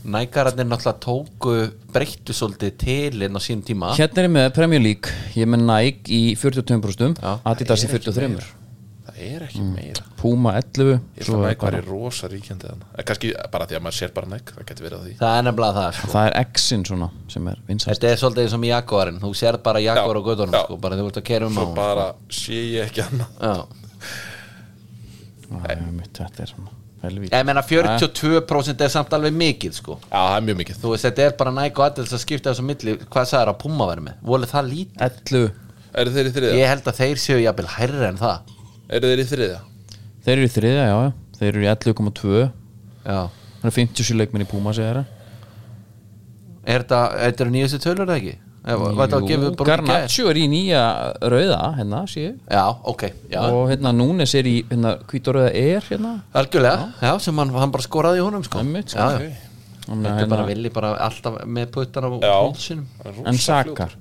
[SPEAKER 2] nægararnir náttúrulega tóku breyttu svolítið tilinn á sínum tíma
[SPEAKER 1] Hérna er ég með Premier League, ég er með Nike í 42%
[SPEAKER 2] Já.
[SPEAKER 1] Adidas í 43
[SPEAKER 3] Það er ekki meira
[SPEAKER 1] Puma 11
[SPEAKER 3] Ég
[SPEAKER 1] svo
[SPEAKER 3] ætla
[SPEAKER 1] er
[SPEAKER 3] að næg var í
[SPEAKER 1] bara-
[SPEAKER 3] rosa ríkjandi þann Kannski bara því að maður sér bara næg Það getur verið að því
[SPEAKER 2] Það er nefnilega það sko.
[SPEAKER 1] Það er X-in svona sem er vinsast
[SPEAKER 2] Þetta er svolítið eins og með Jaguarinn Þú sér bara Jaguar
[SPEAKER 3] Já,
[SPEAKER 2] á göttunum
[SPEAKER 3] já.
[SPEAKER 2] sko, bara þú ert að kera um
[SPEAKER 3] Svo
[SPEAKER 2] á honum.
[SPEAKER 3] bara sé ég ekki annað
[SPEAKER 2] Já.
[SPEAKER 1] Þetta er svona helvít
[SPEAKER 2] Ég meina 42% er samt alveg mikið sko.
[SPEAKER 3] Já, það er mjög mikið
[SPEAKER 2] Þú veist, þetta er bara næg og aðeins að skipta þessu á milli Hvað sagði að Puma verið með? Voli það lítið?
[SPEAKER 1] 11
[SPEAKER 3] Eru þeir í þriðja?
[SPEAKER 2] Ég held að þeir séu jafnvel hærri en það
[SPEAKER 3] Eru þeir í þriðja?
[SPEAKER 1] Þeir eru í þriðja, já, já Þeir eru í 11,2
[SPEAKER 2] Já
[SPEAKER 1] Það er 57 leikminn í Puma, segir það
[SPEAKER 2] Er þetta, þetta eru nýjastu tölur eða ekki? Eða Var þetta að gefa bara í gær?
[SPEAKER 1] Garnaccio er í nýja rauða, hérna, sé ég
[SPEAKER 2] Já, ok, já
[SPEAKER 1] Og hérna Núnes er í, hérna, hvítorauða er, hérna
[SPEAKER 2] Algjörlega, já, sem hann, hann bara skoraði í honum sko.
[SPEAKER 1] Einmitt, sko.
[SPEAKER 2] já, já.
[SPEAKER 1] Þannig að
[SPEAKER 2] Þetta er bara
[SPEAKER 1] hérna-
[SPEAKER 2] villi bara alltaf með puttan á
[SPEAKER 3] Já.
[SPEAKER 2] hólsinum
[SPEAKER 3] Rosa
[SPEAKER 1] En
[SPEAKER 3] fljót.
[SPEAKER 1] sakar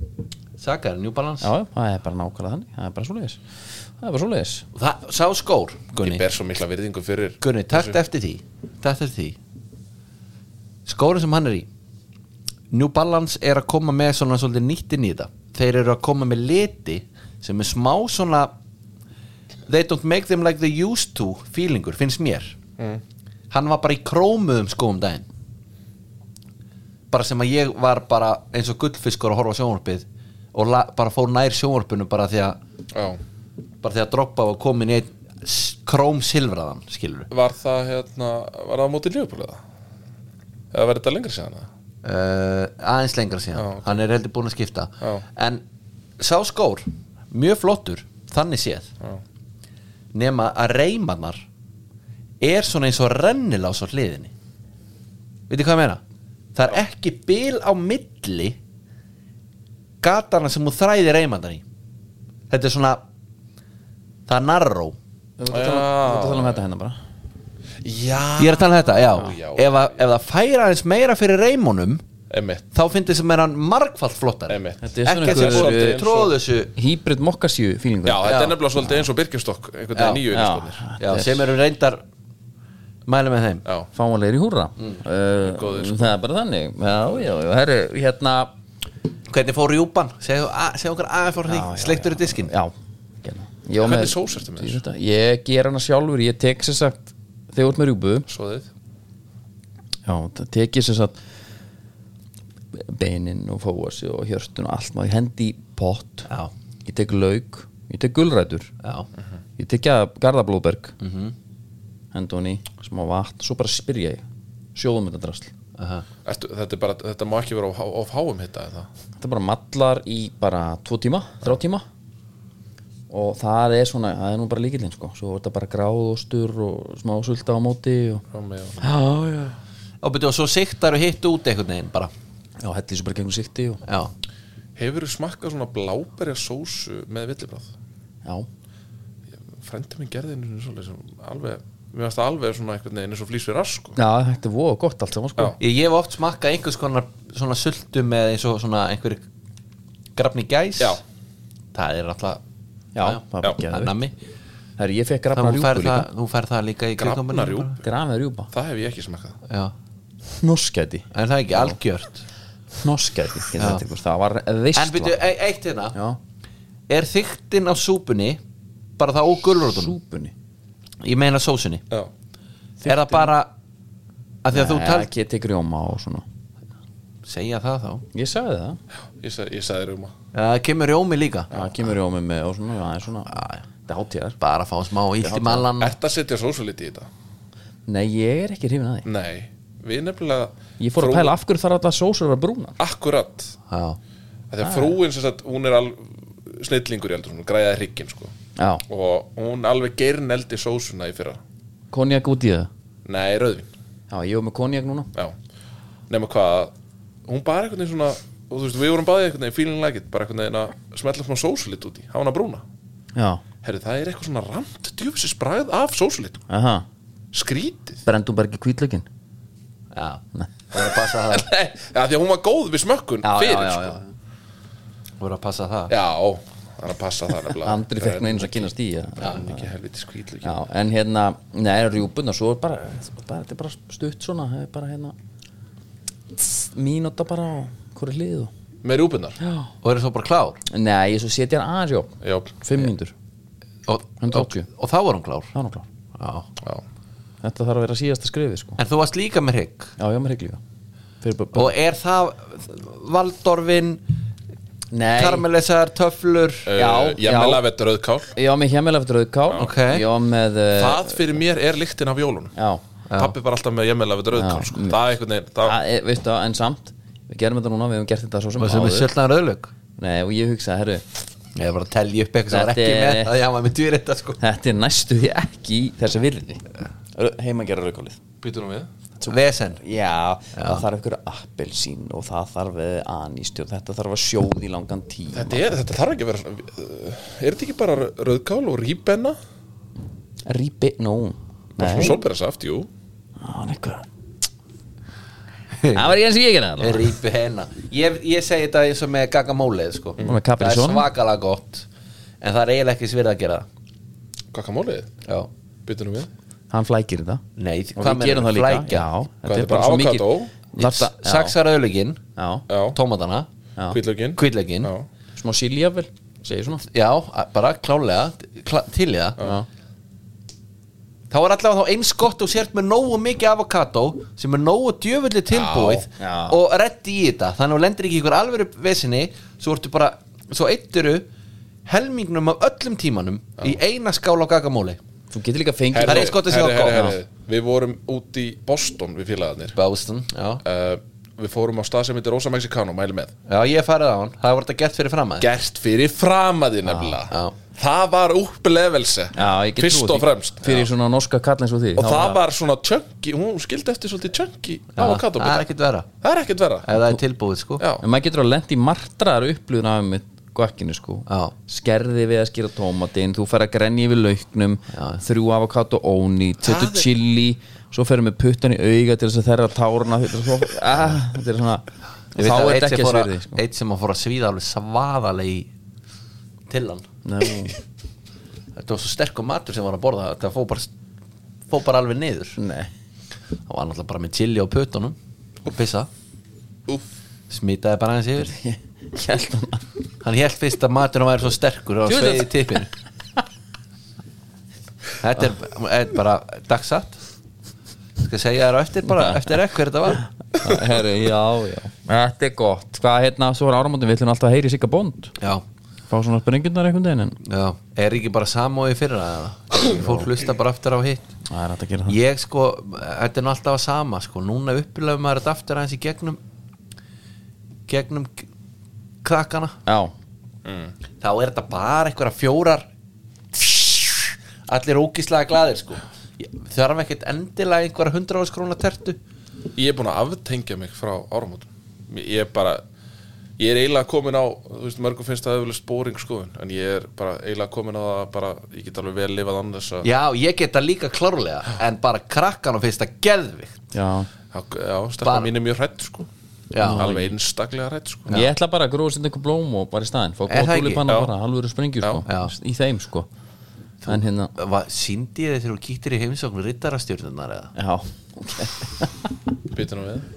[SPEAKER 2] Sakar, New Balance
[SPEAKER 1] Já, já, það er bara nákvæmlega þannig Það er bara svo leiðis Það er bara svo leiðis
[SPEAKER 2] Og það, Sá skór,
[SPEAKER 3] Ég
[SPEAKER 2] Gunni
[SPEAKER 3] ber svo mikla virðingu fyrir
[SPEAKER 2] Gunni, takt eftir því Takt eftir því Skórin sem hann er í New Balance er að koma með svona svolítið nýtt inn í þetta Þeir eru að koma með liti sem er smá svona They don't make them like they used to feelingur, finnst mér Hann var bara í krómuðum skóum daginn bara sem að ég var bara eins og gullfiskur að horfa á sjónvarpið og la, bara fór nær sjónvarpinu bara því að
[SPEAKER 3] Já
[SPEAKER 2] bara því að droppa var komin í einn s- krómsilfraðan, skilur
[SPEAKER 3] Var það hérna Var það á móti Liverpool eða? Eða verður þetta lengra síðan eða?
[SPEAKER 2] uh, aðeins lengra síðan
[SPEAKER 3] Já, ok.
[SPEAKER 2] hann er heldur búin að skipta
[SPEAKER 3] Já.
[SPEAKER 2] en sá skór, mjög flottur þannig séð
[SPEAKER 3] Já.
[SPEAKER 2] nema að reymanar er svona eins og rennilás á hliðinni veitir hvað ég meina? það er ekki bil á milli gatana sem hún þræði reymanar í þetta er svona það er narró
[SPEAKER 1] Þú ert að tala- þú ert að tala um þetta hérna bara
[SPEAKER 2] ég er að tala um þetta, já,
[SPEAKER 3] Já, já.
[SPEAKER 2] Ef, að, ef það færa aðeins meira fyrir reymunum
[SPEAKER 3] Einmitt
[SPEAKER 2] þá finnst sem er hann margfald flottar
[SPEAKER 3] Einmitt.
[SPEAKER 2] ekki
[SPEAKER 1] Þetta er svona
[SPEAKER 2] að sé
[SPEAKER 1] einhver-
[SPEAKER 2] svolítið tróð þessu
[SPEAKER 1] Hybrid mokkasjú fílingur
[SPEAKER 3] Já,
[SPEAKER 2] Já.
[SPEAKER 3] þetta
[SPEAKER 2] sko.
[SPEAKER 3] er nefnilega svolítið eins og Birkenstock einhvern veginn nýju
[SPEAKER 1] já.
[SPEAKER 3] innskotnir
[SPEAKER 2] já, sem eru reyndar mæli með þeim
[SPEAKER 3] Já,
[SPEAKER 1] Fáanlegir í húrra uh,
[SPEAKER 3] Mm. Góðir, sko.
[SPEAKER 1] Það er bara þannig Já, já, já, herru, hérna
[SPEAKER 2] hvernig fór Júban, segðu a- segðu okkur aðeins fór því sleiktur í diskin
[SPEAKER 1] Já, hérna Ég á með-
[SPEAKER 3] Hvernig sós ertu með þessu?
[SPEAKER 1] Í þetta. Ég ger hana sjálfur, ég tek sem sagt Þegar út með rjúbu
[SPEAKER 3] svo þið
[SPEAKER 1] Já, það tek ég sem sagt Beinin og fóasi og hjörtun og allt maður Ég hendi í pott
[SPEAKER 2] Já.
[SPEAKER 1] Ég tek lauk, ég tek gulrætur
[SPEAKER 2] já,
[SPEAKER 1] Ég tek að Garðablóðberg mm
[SPEAKER 3] Mhm.
[SPEAKER 1] -hmm. Hendi hún í, smá vatn Svo bara spyrja ég, sjóðum þetta drasl
[SPEAKER 2] aha.
[SPEAKER 3] Ertu, þetta, er bara, þetta má ekki vera of, há- of háum hitta eða?
[SPEAKER 1] þetta bara mallar í bara tvo tíma, þrjá tíma og það er svona, það er nú bara líkillinn sko, svo er þetta bara gráðostur og smá sulta á móti og...
[SPEAKER 3] Rómi og-
[SPEAKER 1] já, já
[SPEAKER 2] og byrju og svo siktar og hitt út einhvern veginn bara,
[SPEAKER 1] já, hætti þessu bara gegnum sikti og...
[SPEAKER 2] já,
[SPEAKER 3] Hefurðu smakkað svona bláberja sósu með villibráð?
[SPEAKER 1] já,
[SPEAKER 3] Frendi minn gerði henni svolítið sem alveg Mér varst það alveg svona einhvern veginn eins og flýs við rass sko.
[SPEAKER 1] já, þetta er voða gott allt saman sko
[SPEAKER 3] Já.
[SPEAKER 2] ég, ég hef oft smakkað einhvers konar svona sultu með eins og svona einhverju grafni gæs
[SPEAKER 3] Já.
[SPEAKER 2] það er alltaf
[SPEAKER 1] Já, það er bara
[SPEAKER 2] það
[SPEAKER 1] geðveikt.
[SPEAKER 2] er nammi
[SPEAKER 1] Herri, ég fekk grafna
[SPEAKER 2] þannig
[SPEAKER 1] rjúpa
[SPEAKER 2] hún fær
[SPEAKER 1] líka
[SPEAKER 2] það, hún fær það líka í kringum
[SPEAKER 3] Grafna rjúp,
[SPEAKER 1] grafna rjúpa,
[SPEAKER 3] það hef ég ekki smakkað
[SPEAKER 2] já,
[SPEAKER 1] hnoskæti
[SPEAKER 2] en það er ekki algjört
[SPEAKER 1] hnoskæti, það var
[SPEAKER 2] en
[SPEAKER 1] veistla
[SPEAKER 2] byrju, e- eitt hérna
[SPEAKER 1] já,
[SPEAKER 2] er þyktin á súpunni bara það og gulrótunum
[SPEAKER 1] súpunni
[SPEAKER 2] ég meina sósunni
[SPEAKER 3] Já,
[SPEAKER 2] er það bara að því að þú
[SPEAKER 1] Nei,
[SPEAKER 2] talt
[SPEAKER 1] ekki ég tek rjóma og svona
[SPEAKER 2] segja það þá
[SPEAKER 1] ég sagði það,
[SPEAKER 3] ég, sa, ég sagði um rúma
[SPEAKER 2] það kemur rjómi líka
[SPEAKER 1] það kemur rjómi með og svona, já, það er svona þetta hátíðar
[SPEAKER 2] bara að fá smá ílt í
[SPEAKER 1] Mm.
[SPEAKER 2] mallan
[SPEAKER 3] Ertu að setja sósu liti í þetta?
[SPEAKER 1] Nei, ég er ekki hrifin að því
[SPEAKER 3] Nei, við nefnilega
[SPEAKER 1] Ég fór að
[SPEAKER 3] frú-
[SPEAKER 1] pæla af hverju þarf alltaf sósur að vera brúnar
[SPEAKER 3] Akkurat,
[SPEAKER 2] Já.
[SPEAKER 3] Af því að frúin sem sagt, hún er al, snillingur í eldur, hún græðaði hrygginn sko.
[SPEAKER 1] Já,
[SPEAKER 3] og hún alveg geirneldi sósuna í fyrra
[SPEAKER 1] konjak út í það
[SPEAKER 3] Nei, rauðvin
[SPEAKER 1] Já, ég var með konjak núna
[SPEAKER 3] Já, nema hvað Hún bara einhvern veginn svona og þú veist, við vorum báðið einhvern veginn feeling like it bara einhvern veginn að smetla smá sósulit út í hafa hana brúna
[SPEAKER 1] Já,
[SPEAKER 3] Herri, það er eitthvað svona ramt djúfisins bragð af sósulit
[SPEAKER 1] aha
[SPEAKER 3] Skrítið
[SPEAKER 1] Brendum bara ekki kvítlökin
[SPEAKER 2] Já. Það voru að passa það
[SPEAKER 3] Nei, ja, því að hún var góð við smökkun
[SPEAKER 1] Já, já,
[SPEAKER 3] fyrir,
[SPEAKER 1] já,
[SPEAKER 2] Það
[SPEAKER 3] sko.
[SPEAKER 2] voru að passa það
[SPEAKER 3] já Já, það er að passa það nefnilega
[SPEAKER 1] Andri fekk nú einu sem kynast í já.
[SPEAKER 3] Já, en ekki helviti skvítlöki
[SPEAKER 1] já, en hérna, neða, rjúbuna Svo er bara, bara, þetta er bara stutt svona Það er bara hérna Mínúta bara á hverju hliðu
[SPEAKER 3] Með rjúpunar Já,
[SPEAKER 2] og eru svo bara klár
[SPEAKER 1] Nei, ég svo setja hann aðeins, já
[SPEAKER 3] já,
[SPEAKER 1] Fimm mínútur,
[SPEAKER 2] og,
[SPEAKER 1] 180.
[SPEAKER 2] og, og þá voru hún klár
[SPEAKER 1] það er nú klár
[SPEAKER 2] Já.
[SPEAKER 3] já.
[SPEAKER 1] Þetta þarf að vera síðasta skrifið, sko
[SPEAKER 2] en þú varst líka með hrygg
[SPEAKER 1] Já, já, mér hrygglega Fyrir bara
[SPEAKER 2] og er það valdorfin
[SPEAKER 1] Nei
[SPEAKER 2] karmelisar, töflur
[SPEAKER 1] Já,
[SPEAKER 3] Ég með
[SPEAKER 1] já. Eh,
[SPEAKER 3] lafett Eh, rauðkál
[SPEAKER 1] Ég var með hjemmel eftir auðkál
[SPEAKER 2] Ok.
[SPEAKER 1] Ég var með uh,
[SPEAKER 3] Það fyrir mér er lyktin af jólunum
[SPEAKER 1] Já,
[SPEAKER 3] Pappi var alltaf með jemmel af þetta rauðkál sko. Það er einhvern veginn það,
[SPEAKER 1] að, eh, veistu, það, en samt við gerum þetta núna, við hefum gert þetta svo sem
[SPEAKER 2] og sem er
[SPEAKER 1] áður
[SPEAKER 2] sjöldnaður öðlög
[SPEAKER 1] Nei, og ég hugsa, herru,
[SPEAKER 2] ég var að telja upp eitthvað sem var
[SPEAKER 1] Þetta
[SPEAKER 2] ekki
[SPEAKER 1] er-
[SPEAKER 2] með að ég var með dýr þetta sko
[SPEAKER 1] þetta er næstu því ekki í þessa virði heima gera raukálið
[SPEAKER 3] Býtur hún við
[SPEAKER 2] vesen
[SPEAKER 1] Já, það þarf einhverja appelsín og það þarf eh, anýst og þetta þarf að sjóð í langan tíma
[SPEAKER 3] Þetta, er, þetta þarf ekki að vera svona uh, Er þetta ekki bara rauðkál og rýbenna?
[SPEAKER 1] Rípi, nú
[SPEAKER 3] Bara
[SPEAKER 1] Nei,
[SPEAKER 3] svona sólberasaft, jú
[SPEAKER 1] hann eitthvað Það var ekki eins og ég gerði það
[SPEAKER 2] Rípi hennar ég, ég segi þetta eins og með gagamólið sko.
[SPEAKER 1] Og með
[SPEAKER 2] Það er
[SPEAKER 1] Capri-Sun.
[SPEAKER 2] svakalega gott En það er eiginlega ekki svirð að gera það.
[SPEAKER 3] Kakamólið,
[SPEAKER 2] Já
[SPEAKER 3] býtur hún við
[SPEAKER 1] Hann flækir þetta
[SPEAKER 2] Nei,
[SPEAKER 1] Og við gerum það líka Já, þetta er
[SPEAKER 3] þetta
[SPEAKER 1] bara
[SPEAKER 3] er bara
[SPEAKER 1] svo mikið
[SPEAKER 3] avocado?
[SPEAKER 1] Þetta- já,
[SPEAKER 2] Saksar öðlugin,
[SPEAKER 1] Já,
[SPEAKER 3] Já,
[SPEAKER 2] tómatana
[SPEAKER 1] já.
[SPEAKER 3] hvítlaugin
[SPEAKER 2] Kvillegin,
[SPEAKER 3] Já,
[SPEAKER 2] já.
[SPEAKER 1] smá sílja vel Segir svona
[SPEAKER 2] a- bara klálega kla, Til í það
[SPEAKER 1] Já.
[SPEAKER 2] Þá er allavega þá eins gott og sért með nógu mikið avokado sem er nógu djöfulli tilbúið
[SPEAKER 1] já.
[SPEAKER 2] og reddi í þetta þannig að þú lendir ekki í ykkur alvöru vesinni svo ertu bara, svo eitturu helmingnum af öllum tímanum í eina skál á gagamóli
[SPEAKER 1] Þú getur líka fengið
[SPEAKER 2] Það er eins gott að sjá
[SPEAKER 3] herri,
[SPEAKER 2] gott.
[SPEAKER 3] herri, herri. Við vorum út í Boston við félagarnir
[SPEAKER 2] Boston, já
[SPEAKER 3] uh, Við fórum á stað sem heitir Rosa Mexicano, mæli með
[SPEAKER 2] Já, ég hef farið á hann, það var þetta gert fyrir fram að
[SPEAKER 3] Gert fyrir framaði nefnilega
[SPEAKER 2] Já.
[SPEAKER 3] Það var upplevelse
[SPEAKER 1] Já, ég get
[SPEAKER 3] Fyrst
[SPEAKER 1] trúið
[SPEAKER 3] og
[SPEAKER 1] því.
[SPEAKER 3] fremst
[SPEAKER 1] Fyrir svona norska kall eins og því
[SPEAKER 3] Og það var svona chunky, hún skildi eftir svolítið chunky
[SPEAKER 2] Það
[SPEAKER 3] avocado
[SPEAKER 2] er
[SPEAKER 3] bita.
[SPEAKER 2] ekkert vera,
[SPEAKER 3] Það er ekkert vera
[SPEAKER 2] ef það er tilbúið sko
[SPEAKER 3] Já.
[SPEAKER 1] En maður getur að lendi martraðar upplýðun af með guakkinu sko
[SPEAKER 2] Já.
[SPEAKER 1] Skerði við að skýra tómatinn Þú fer að grenja yfir lauknum Þrjú avokado óni, tötu chili Svo ferðu með puttan í auga til þess að þerra tárna Þetta er svo- Ah, þetta er svona Ég veit
[SPEAKER 2] Þá
[SPEAKER 1] að þetta
[SPEAKER 2] er eitt
[SPEAKER 1] ekki að
[SPEAKER 2] sem, fór að,
[SPEAKER 1] sverði sko.
[SPEAKER 2] eitt sem að fór að svíða alveg svaðalegi til hann
[SPEAKER 1] Nei,
[SPEAKER 2] Þetta var svo sterkur matur sem var að borða Það fór bara, fór bara alveg niður
[SPEAKER 1] Nei.
[SPEAKER 2] Það var náttúrulega bara með chili á pötunum Og pissa
[SPEAKER 3] Úff.
[SPEAKER 2] Smitaði bara aðeins yfir
[SPEAKER 1] Ég held hann að-
[SPEAKER 2] Hann held fyrst að maturinn væri svo sterkur Og
[SPEAKER 1] Jú,
[SPEAKER 2] sveið í
[SPEAKER 1] þetta-
[SPEAKER 2] tippinu Þetta er, er bara dagsatt Ég Skal segja þér á eftir bara Eftir ekk hver þetta var
[SPEAKER 1] Herri, já, já Þetta er gott Hvað hérna, svo er áramótum Við ætlum alltaf að heyri sigga bónd
[SPEAKER 2] Já,
[SPEAKER 1] Fá svona sprengjurnar einhvern veginn En
[SPEAKER 2] já Er ekki bara samóið fyrir það Fólk hlusta bara aftur á hitt
[SPEAKER 1] það er hægt að gera það
[SPEAKER 2] ég sko, þetta er nú alltaf að sama sko, núna upplöfum maður þetta aftur aðeins í gegnum gegnum k- krakkana
[SPEAKER 1] Já,
[SPEAKER 2] þá er þetta bara einhverja fjórar allir ógíslega glaðir sko Ég- þarf ekkert endilega einhverja hundra áskrona tertu
[SPEAKER 3] Ég er búin að aftengja mig frá áramótum Ég er bara Ég er eiginlega komin á, þú veist, mörgum finnst það eflust boring skoðun, en ég er bara eiginlega komin á það að bara, ég get alveg vel lifað annað þess að,
[SPEAKER 2] já, ég geta líka klárlega en bara krakkana finnst það geðvikt
[SPEAKER 1] já
[SPEAKER 3] já, já stelpa
[SPEAKER 2] Bara-
[SPEAKER 3] mín er mjög hrætt sko,
[SPEAKER 2] Já.
[SPEAKER 3] alveg einstaklega hrætt sko.
[SPEAKER 1] Ég ætla bara að gróða senda einhver blóm og bara í staðinn Fá
[SPEAKER 2] Er
[SPEAKER 1] góð
[SPEAKER 2] það ekki?
[SPEAKER 1] tulipanna
[SPEAKER 3] Já.
[SPEAKER 1] bara, alvöru sprengjur sko
[SPEAKER 2] Já.
[SPEAKER 1] Í þeim sko En hérna,
[SPEAKER 2] síndi ég þið þegar þú kýttir í heimsókn rittarastjörnunar eða
[SPEAKER 1] já
[SPEAKER 3] Býtum við,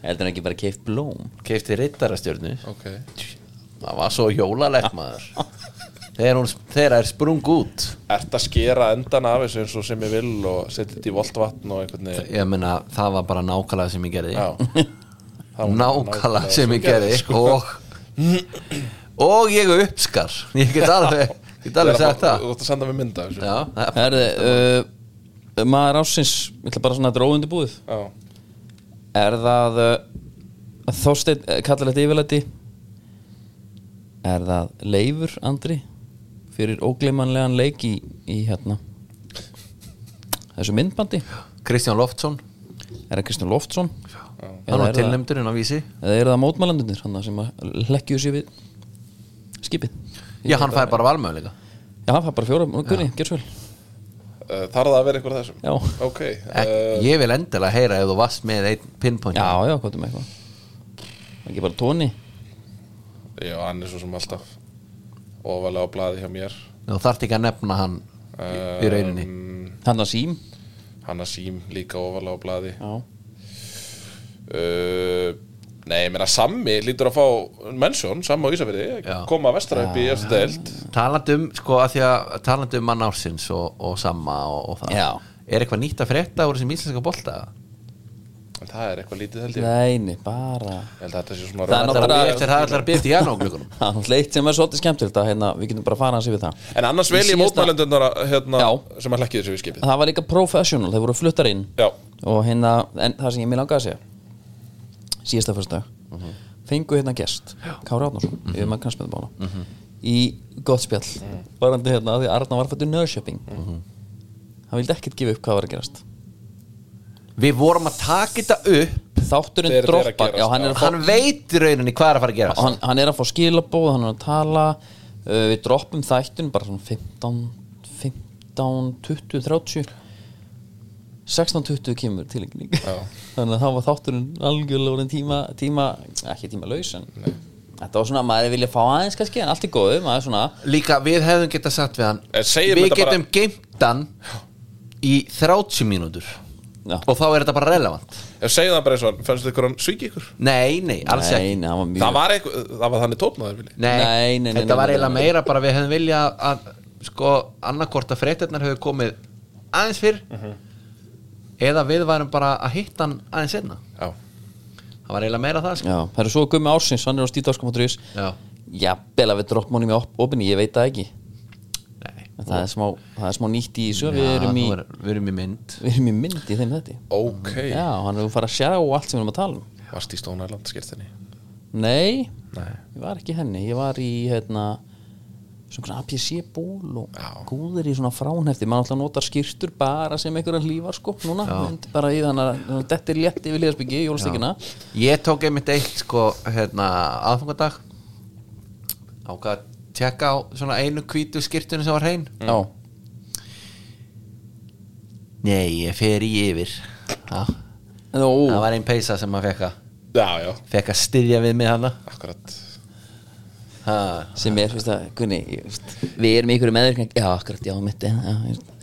[SPEAKER 1] Heldur hann ekki bara keift blóm
[SPEAKER 2] keifti rittarastjörnu
[SPEAKER 3] ok.
[SPEAKER 2] það var svo jólalegt maður þegar, hún, þegar það er sprung út
[SPEAKER 3] Ert að skera endan af þessu eins og sem ég vil og setja þetta í volt vatn og einhvern veginn.
[SPEAKER 2] ég meina það var bara nákvæmlega sem ég gerði
[SPEAKER 3] Já. Það var
[SPEAKER 2] nákvæmlega sem ég gerði sko. og og ég uppskar ég get alveg, get alveg sagt það
[SPEAKER 3] Þú ætti að senda mig mynda þessu.
[SPEAKER 2] já, það-
[SPEAKER 1] Herði, uh, maður ásins Ég ætla bara svona að dróðundi búið
[SPEAKER 3] Já.
[SPEAKER 1] Er það uh, Þorsteinn, uh, kallar þetta yfirleiti Er það Leifur, Andri Fyrir ógleymanlegan leik í, í hérna Þessu myndbandi
[SPEAKER 2] Kristján Loftsson
[SPEAKER 1] Er það Kristján Loftsson
[SPEAKER 2] hann
[SPEAKER 1] Eða
[SPEAKER 2] var
[SPEAKER 1] er það-
[SPEAKER 2] tilnæmdurinn á vísi
[SPEAKER 1] eða eru það mótmælendunir hann sem að leggju sér við skipið
[SPEAKER 2] já, hann fæði bara valmöðleika
[SPEAKER 1] já, það er bara fjóra, Gunni, gerð svo vel
[SPEAKER 3] Uh, Þarf það að vera einhver af þessum?
[SPEAKER 1] Já.
[SPEAKER 3] Ok. eh,
[SPEAKER 2] ég vil endilega heyra ef þú varst með einn pinpoint
[SPEAKER 1] já, já, hvað er með eitthvað ekki bara tóni
[SPEAKER 3] Uh, já, hann er svo sem alltaf ofalega á blaði hjá mér.
[SPEAKER 2] þú þarft ekki að nefna hann í- í rauninni
[SPEAKER 1] hann að sím
[SPEAKER 3] Hanna Sím líka ofalega á blaði.
[SPEAKER 1] já,
[SPEAKER 3] Uh, nei, ég meina Sammi lítur að fá mennsjón, Sammi á Ísafirði,
[SPEAKER 2] Já.
[SPEAKER 3] koma vestra upp í eftir deild.
[SPEAKER 2] talandi um sko að því að talandi um mann ársins og, og samma og, og það
[SPEAKER 1] Já.
[SPEAKER 2] er eitthvað nýtt að frétta úr þessum íslenska bolta
[SPEAKER 3] En það er eitthvað lítið held ég.
[SPEAKER 1] neini, bara
[SPEAKER 3] Ég held að þetta sé svona
[SPEAKER 1] Það er
[SPEAKER 2] það
[SPEAKER 1] náttúrulega-
[SPEAKER 2] er eftir það ætlar að byrja í janúargluggunum
[SPEAKER 1] það er leitt sem er svolítið skemmtilegt að hérna, við getum bara að fara hans yfir það
[SPEAKER 3] En annars vel
[SPEAKER 1] Í
[SPEAKER 3] ég
[SPEAKER 1] síðasta-
[SPEAKER 3] mótmælendunar hérna,
[SPEAKER 1] Já.
[SPEAKER 3] sem að hlekkið þessu við skipið.
[SPEAKER 1] það var líka professional, þeir voru fluttar inn
[SPEAKER 3] Já.
[SPEAKER 1] og hérna, en það sem ég mér langaði að segja síðasta fyrsta
[SPEAKER 3] Mhm.
[SPEAKER 1] fengu hérna gest, Kári Árnarsson mm -hmm. yfir mann kannsmiðbána
[SPEAKER 3] Mhm.
[SPEAKER 1] í gott spjall, varandi hérna af því að Arna var fættu nöðsjöping
[SPEAKER 3] Mhm.
[SPEAKER 1] hann vildi ekkert gefa upp hvað var að gerast
[SPEAKER 2] við vorum að taka þetta upp
[SPEAKER 1] þátturinn
[SPEAKER 3] Þeir- þeir að
[SPEAKER 1] droppar,
[SPEAKER 3] gerast,
[SPEAKER 1] já hann
[SPEAKER 3] já.
[SPEAKER 1] er að fá
[SPEAKER 2] hann veit í rauninni hvað er að fara að gera
[SPEAKER 1] hann, hann er að fá skilabóð, hann er að tala uh, við droppum þættun bara svona 15, 15 20, 30 16, 20 kemur tilengning þannig að þá var þátturinn algjörlega orðin tíma, tíma ekki tíma laus en þetta var svona, maður vilja fá aðeins kannski en allt er góðu, maður er svona
[SPEAKER 2] líka við hefðum getað sagt við hann
[SPEAKER 3] En Eh, segjum
[SPEAKER 2] við
[SPEAKER 3] þetta bara-
[SPEAKER 2] getum geimt hann í 30 mínútur
[SPEAKER 1] Já.
[SPEAKER 2] og þá er þetta bara relevant
[SPEAKER 3] Ef segja það bara eins og, fannst ykkur hann svíki ykkur?
[SPEAKER 2] nei, nei, alls ekki
[SPEAKER 1] nei, nei, hann var mjög
[SPEAKER 3] Það var, eitthvað, það var þannig tónaður vilji.
[SPEAKER 2] Nei,
[SPEAKER 1] Nei, nei, nei,
[SPEAKER 2] þetta
[SPEAKER 1] nei,
[SPEAKER 2] var
[SPEAKER 1] nei,
[SPEAKER 2] eiginlega
[SPEAKER 1] nei.
[SPEAKER 2] meira bara við hefðum vilja að sko annarkort að fréttirnar hefur komið aðeins fyrr eða við varum bara að hitta hann aðeins einna
[SPEAKER 3] Já.
[SPEAKER 2] það var eiginlega meira það sko.
[SPEAKER 1] já, það er svo gummi ársins, hann er á stíðdalskom.is
[SPEAKER 2] Já.
[SPEAKER 1] já, bela við droppum honum í opinni, ég veit það ekki
[SPEAKER 2] Nei.
[SPEAKER 1] En það er smá, það er smá nýtt í þessu við, erum í,
[SPEAKER 2] nú er- við erum í mynd
[SPEAKER 1] við erum í mynd í þeim þetta
[SPEAKER 3] Ok,
[SPEAKER 1] Já, hann er að fara að sjá allt sem við erum að tala um
[SPEAKER 3] varst í Stone Island skýrstinni
[SPEAKER 1] Nei,
[SPEAKER 3] Nei,
[SPEAKER 1] ég var ekki í henni Ég var í, hérna svona APC ból og
[SPEAKER 3] Já.
[SPEAKER 1] gúðir í svona fránhefti maður alltaf notar skýrtur bara sem einhverja hlífar sko núna, mynd bara í þannig að- þannig að þetta er létt yfir liðarsbyggi, jólstíkina
[SPEAKER 2] Ég tók einmitt eitt sko hérna aðfangadag ákvað að tjekka á svona einu hvítu skýrtunni sem var hrein
[SPEAKER 1] Já,
[SPEAKER 2] Nei, ég fer í yfir Já,
[SPEAKER 1] en þú,
[SPEAKER 2] það var einn peysa sem maður fekk að
[SPEAKER 3] já, já,
[SPEAKER 2] fekk að styrja við mig hana
[SPEAKER 3] akkurat
[SPEAKER 2] ha.
[SPEAKER 1] sem er, veist að, kunni, veist, við erum í ykkur meðvirkning, já, akkurat, já, mitt já, veist,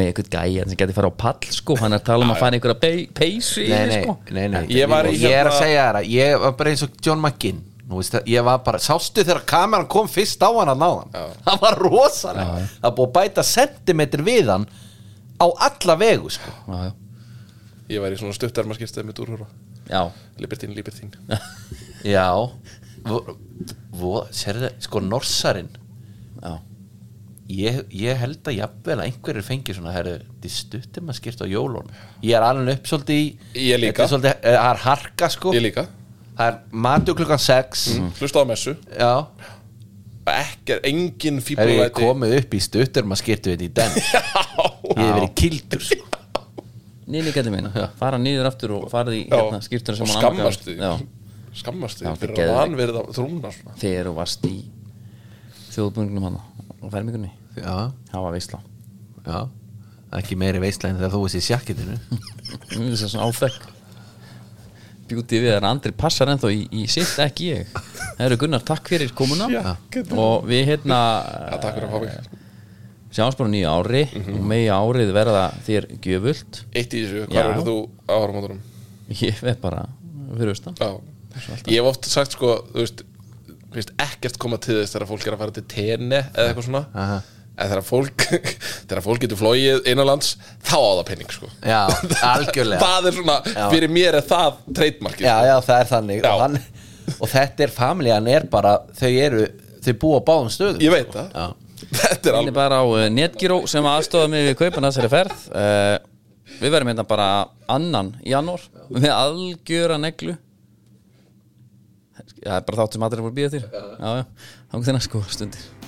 [SPEAKER 1] með ykkur gæjan sem geti fara á pall sko, hann er að tala um að fara í ykkur að peysu
[SPEAKER 2] nei,
[SPEAKER 1] yfir,
[SPEAKER 2] nei,
[SPEAKER 1] sko.
[SPEAKER 2] nei, nei
[SPEAKER 3] Ég var í
[SPEAKER 2] Ég er að
[SPEAKER 3] hérna-
[SPEAKER 2] segja þér að ég var bara eins og John McGinn Nú veist það, ég var bara, sástu þegar kameran kom fyrst á hann að náðan Það var rosalega Það er búið að bæta sentimetr við hann á alla vegu sko
[SPEAKER 1] já, já,
[SPEAKER 3] Ég var í svona stuttarma skýrstæði með dúrhóra
[SPEAKER 1] já,
[SPEAKER 3] Libertín, Libertín
[SPEAKER 2] Já vo, vo, Sérðu, sko norsarin
[SPEAKER 1] já.
[SPEAKER 2] ég, ég held að jafnvel að einhverjir fengi svona herru, þið stuttum að skipta á jólun ég er alveg upp svolítið í
[SPEAKER 3] Ég
[SPEAKER 2] þetta
[SPEAKER 3] líka.
[SPEAKER 2] er svolítið, eh, það er harka sko
[SPEAKER 3] Ég líka, Mm.
[SPEAKER 2] það er matur klukkan 6
[SPEAKER 3] hlusta á messu
[SPEAKER 2] já,
[SPEAKER 3] Ekki, engin
[SPEAKER 2] hefur ég
[SPEAKER 3] fíblulæti
[SPEAKER 2] komið upp í stuttum að skipta við í den ég hef verið kildur sko.
[SPEAKER 1] nýli gæti minn, fara nýður aftur og fara í
[SPEAKER 3] Já.
[SPEAKER 1] hérna, skýrtuna sem
[SPEAKER 3] Og
[SPEAKER 1] hann annar
[SPEAKER 3] skammast
[SPEAKER 1] gaf.
[SPEAKER 3] þig.
[SPEAKER 1] já,
[SPEAKER 3] Skammast
[SPEAKER 1] Já,
[SPEAKER 3] þig fyrir
[SPEAKER 1] geðveikt.
[SPEAKER 3] að hann verið að þrúna svona
[SPEAKER 1] þegar þú varst í þjóðbungnum hann og fermingunni,
[SPEAKER 2] já,
[SPEAKER 1] það var veisla
[SPEAKER 2] já ekki meiri veistlegin þegar þú veist í sjakkitinu
[SPEAKER 1] þess að svona áþekk bjúti við að Andri passar ennþá í, í sitt ekki ég það eru Gunnar, takk fyrir komuna og við hérna
[SPEAKER 3] Já, takk fyrir að fá mig
[SPEAKER 1] sjáumst bara á nýju ári
[SPEAKER 3] Mhm.
[SPEAKER 1] og megi árið verða þér gjöfult
[SPEAKER 3] Eitt í þessu,
[SPEAKER 1] Já.
[SPEAKER 3] hvað verður þú um? á áramótunum?
[SPEAKER 1] ég veit bara fyrir austan
[SPEAKER 3] Já, ég hef oft sagt sko, þú veist mér finnst ekkert koma til þess þegar fólk er að fara til tenni eða eitthvað svona en þegar fólk, þegar fólk getur flóið innanlands, þá á það penning sko
[SPEAKER 2] já, algjörlega
[SPEAKER 3] það er svona,
[SPEAKER 2] Já.
[SPEAKER 3] fyrir mér er það treytmarkið
[SPEAKER 2] já, já, það er þannig
[SPEAKER 3] Já.
[SPEAKER 2] og, hann, og þetta er familjan er bara þau eru, þau búa á báðum stöðum
[SPEAKER 3] Ég veit það
[SPEAKER 2] já
[SPEAKER 3] Þetta er
[SPEAKER 1] Minni
[SPEAKER 3] alveg
[SPEAKER 1] bara á eh, Netgyro sem aðstofa mig við kaupan að þessari ferð Eh, Við verðum hérna bara annan janúar með algjöra neglu Það er bara þátt sem allir voru býða til Já, já, þá er þetta sko stundir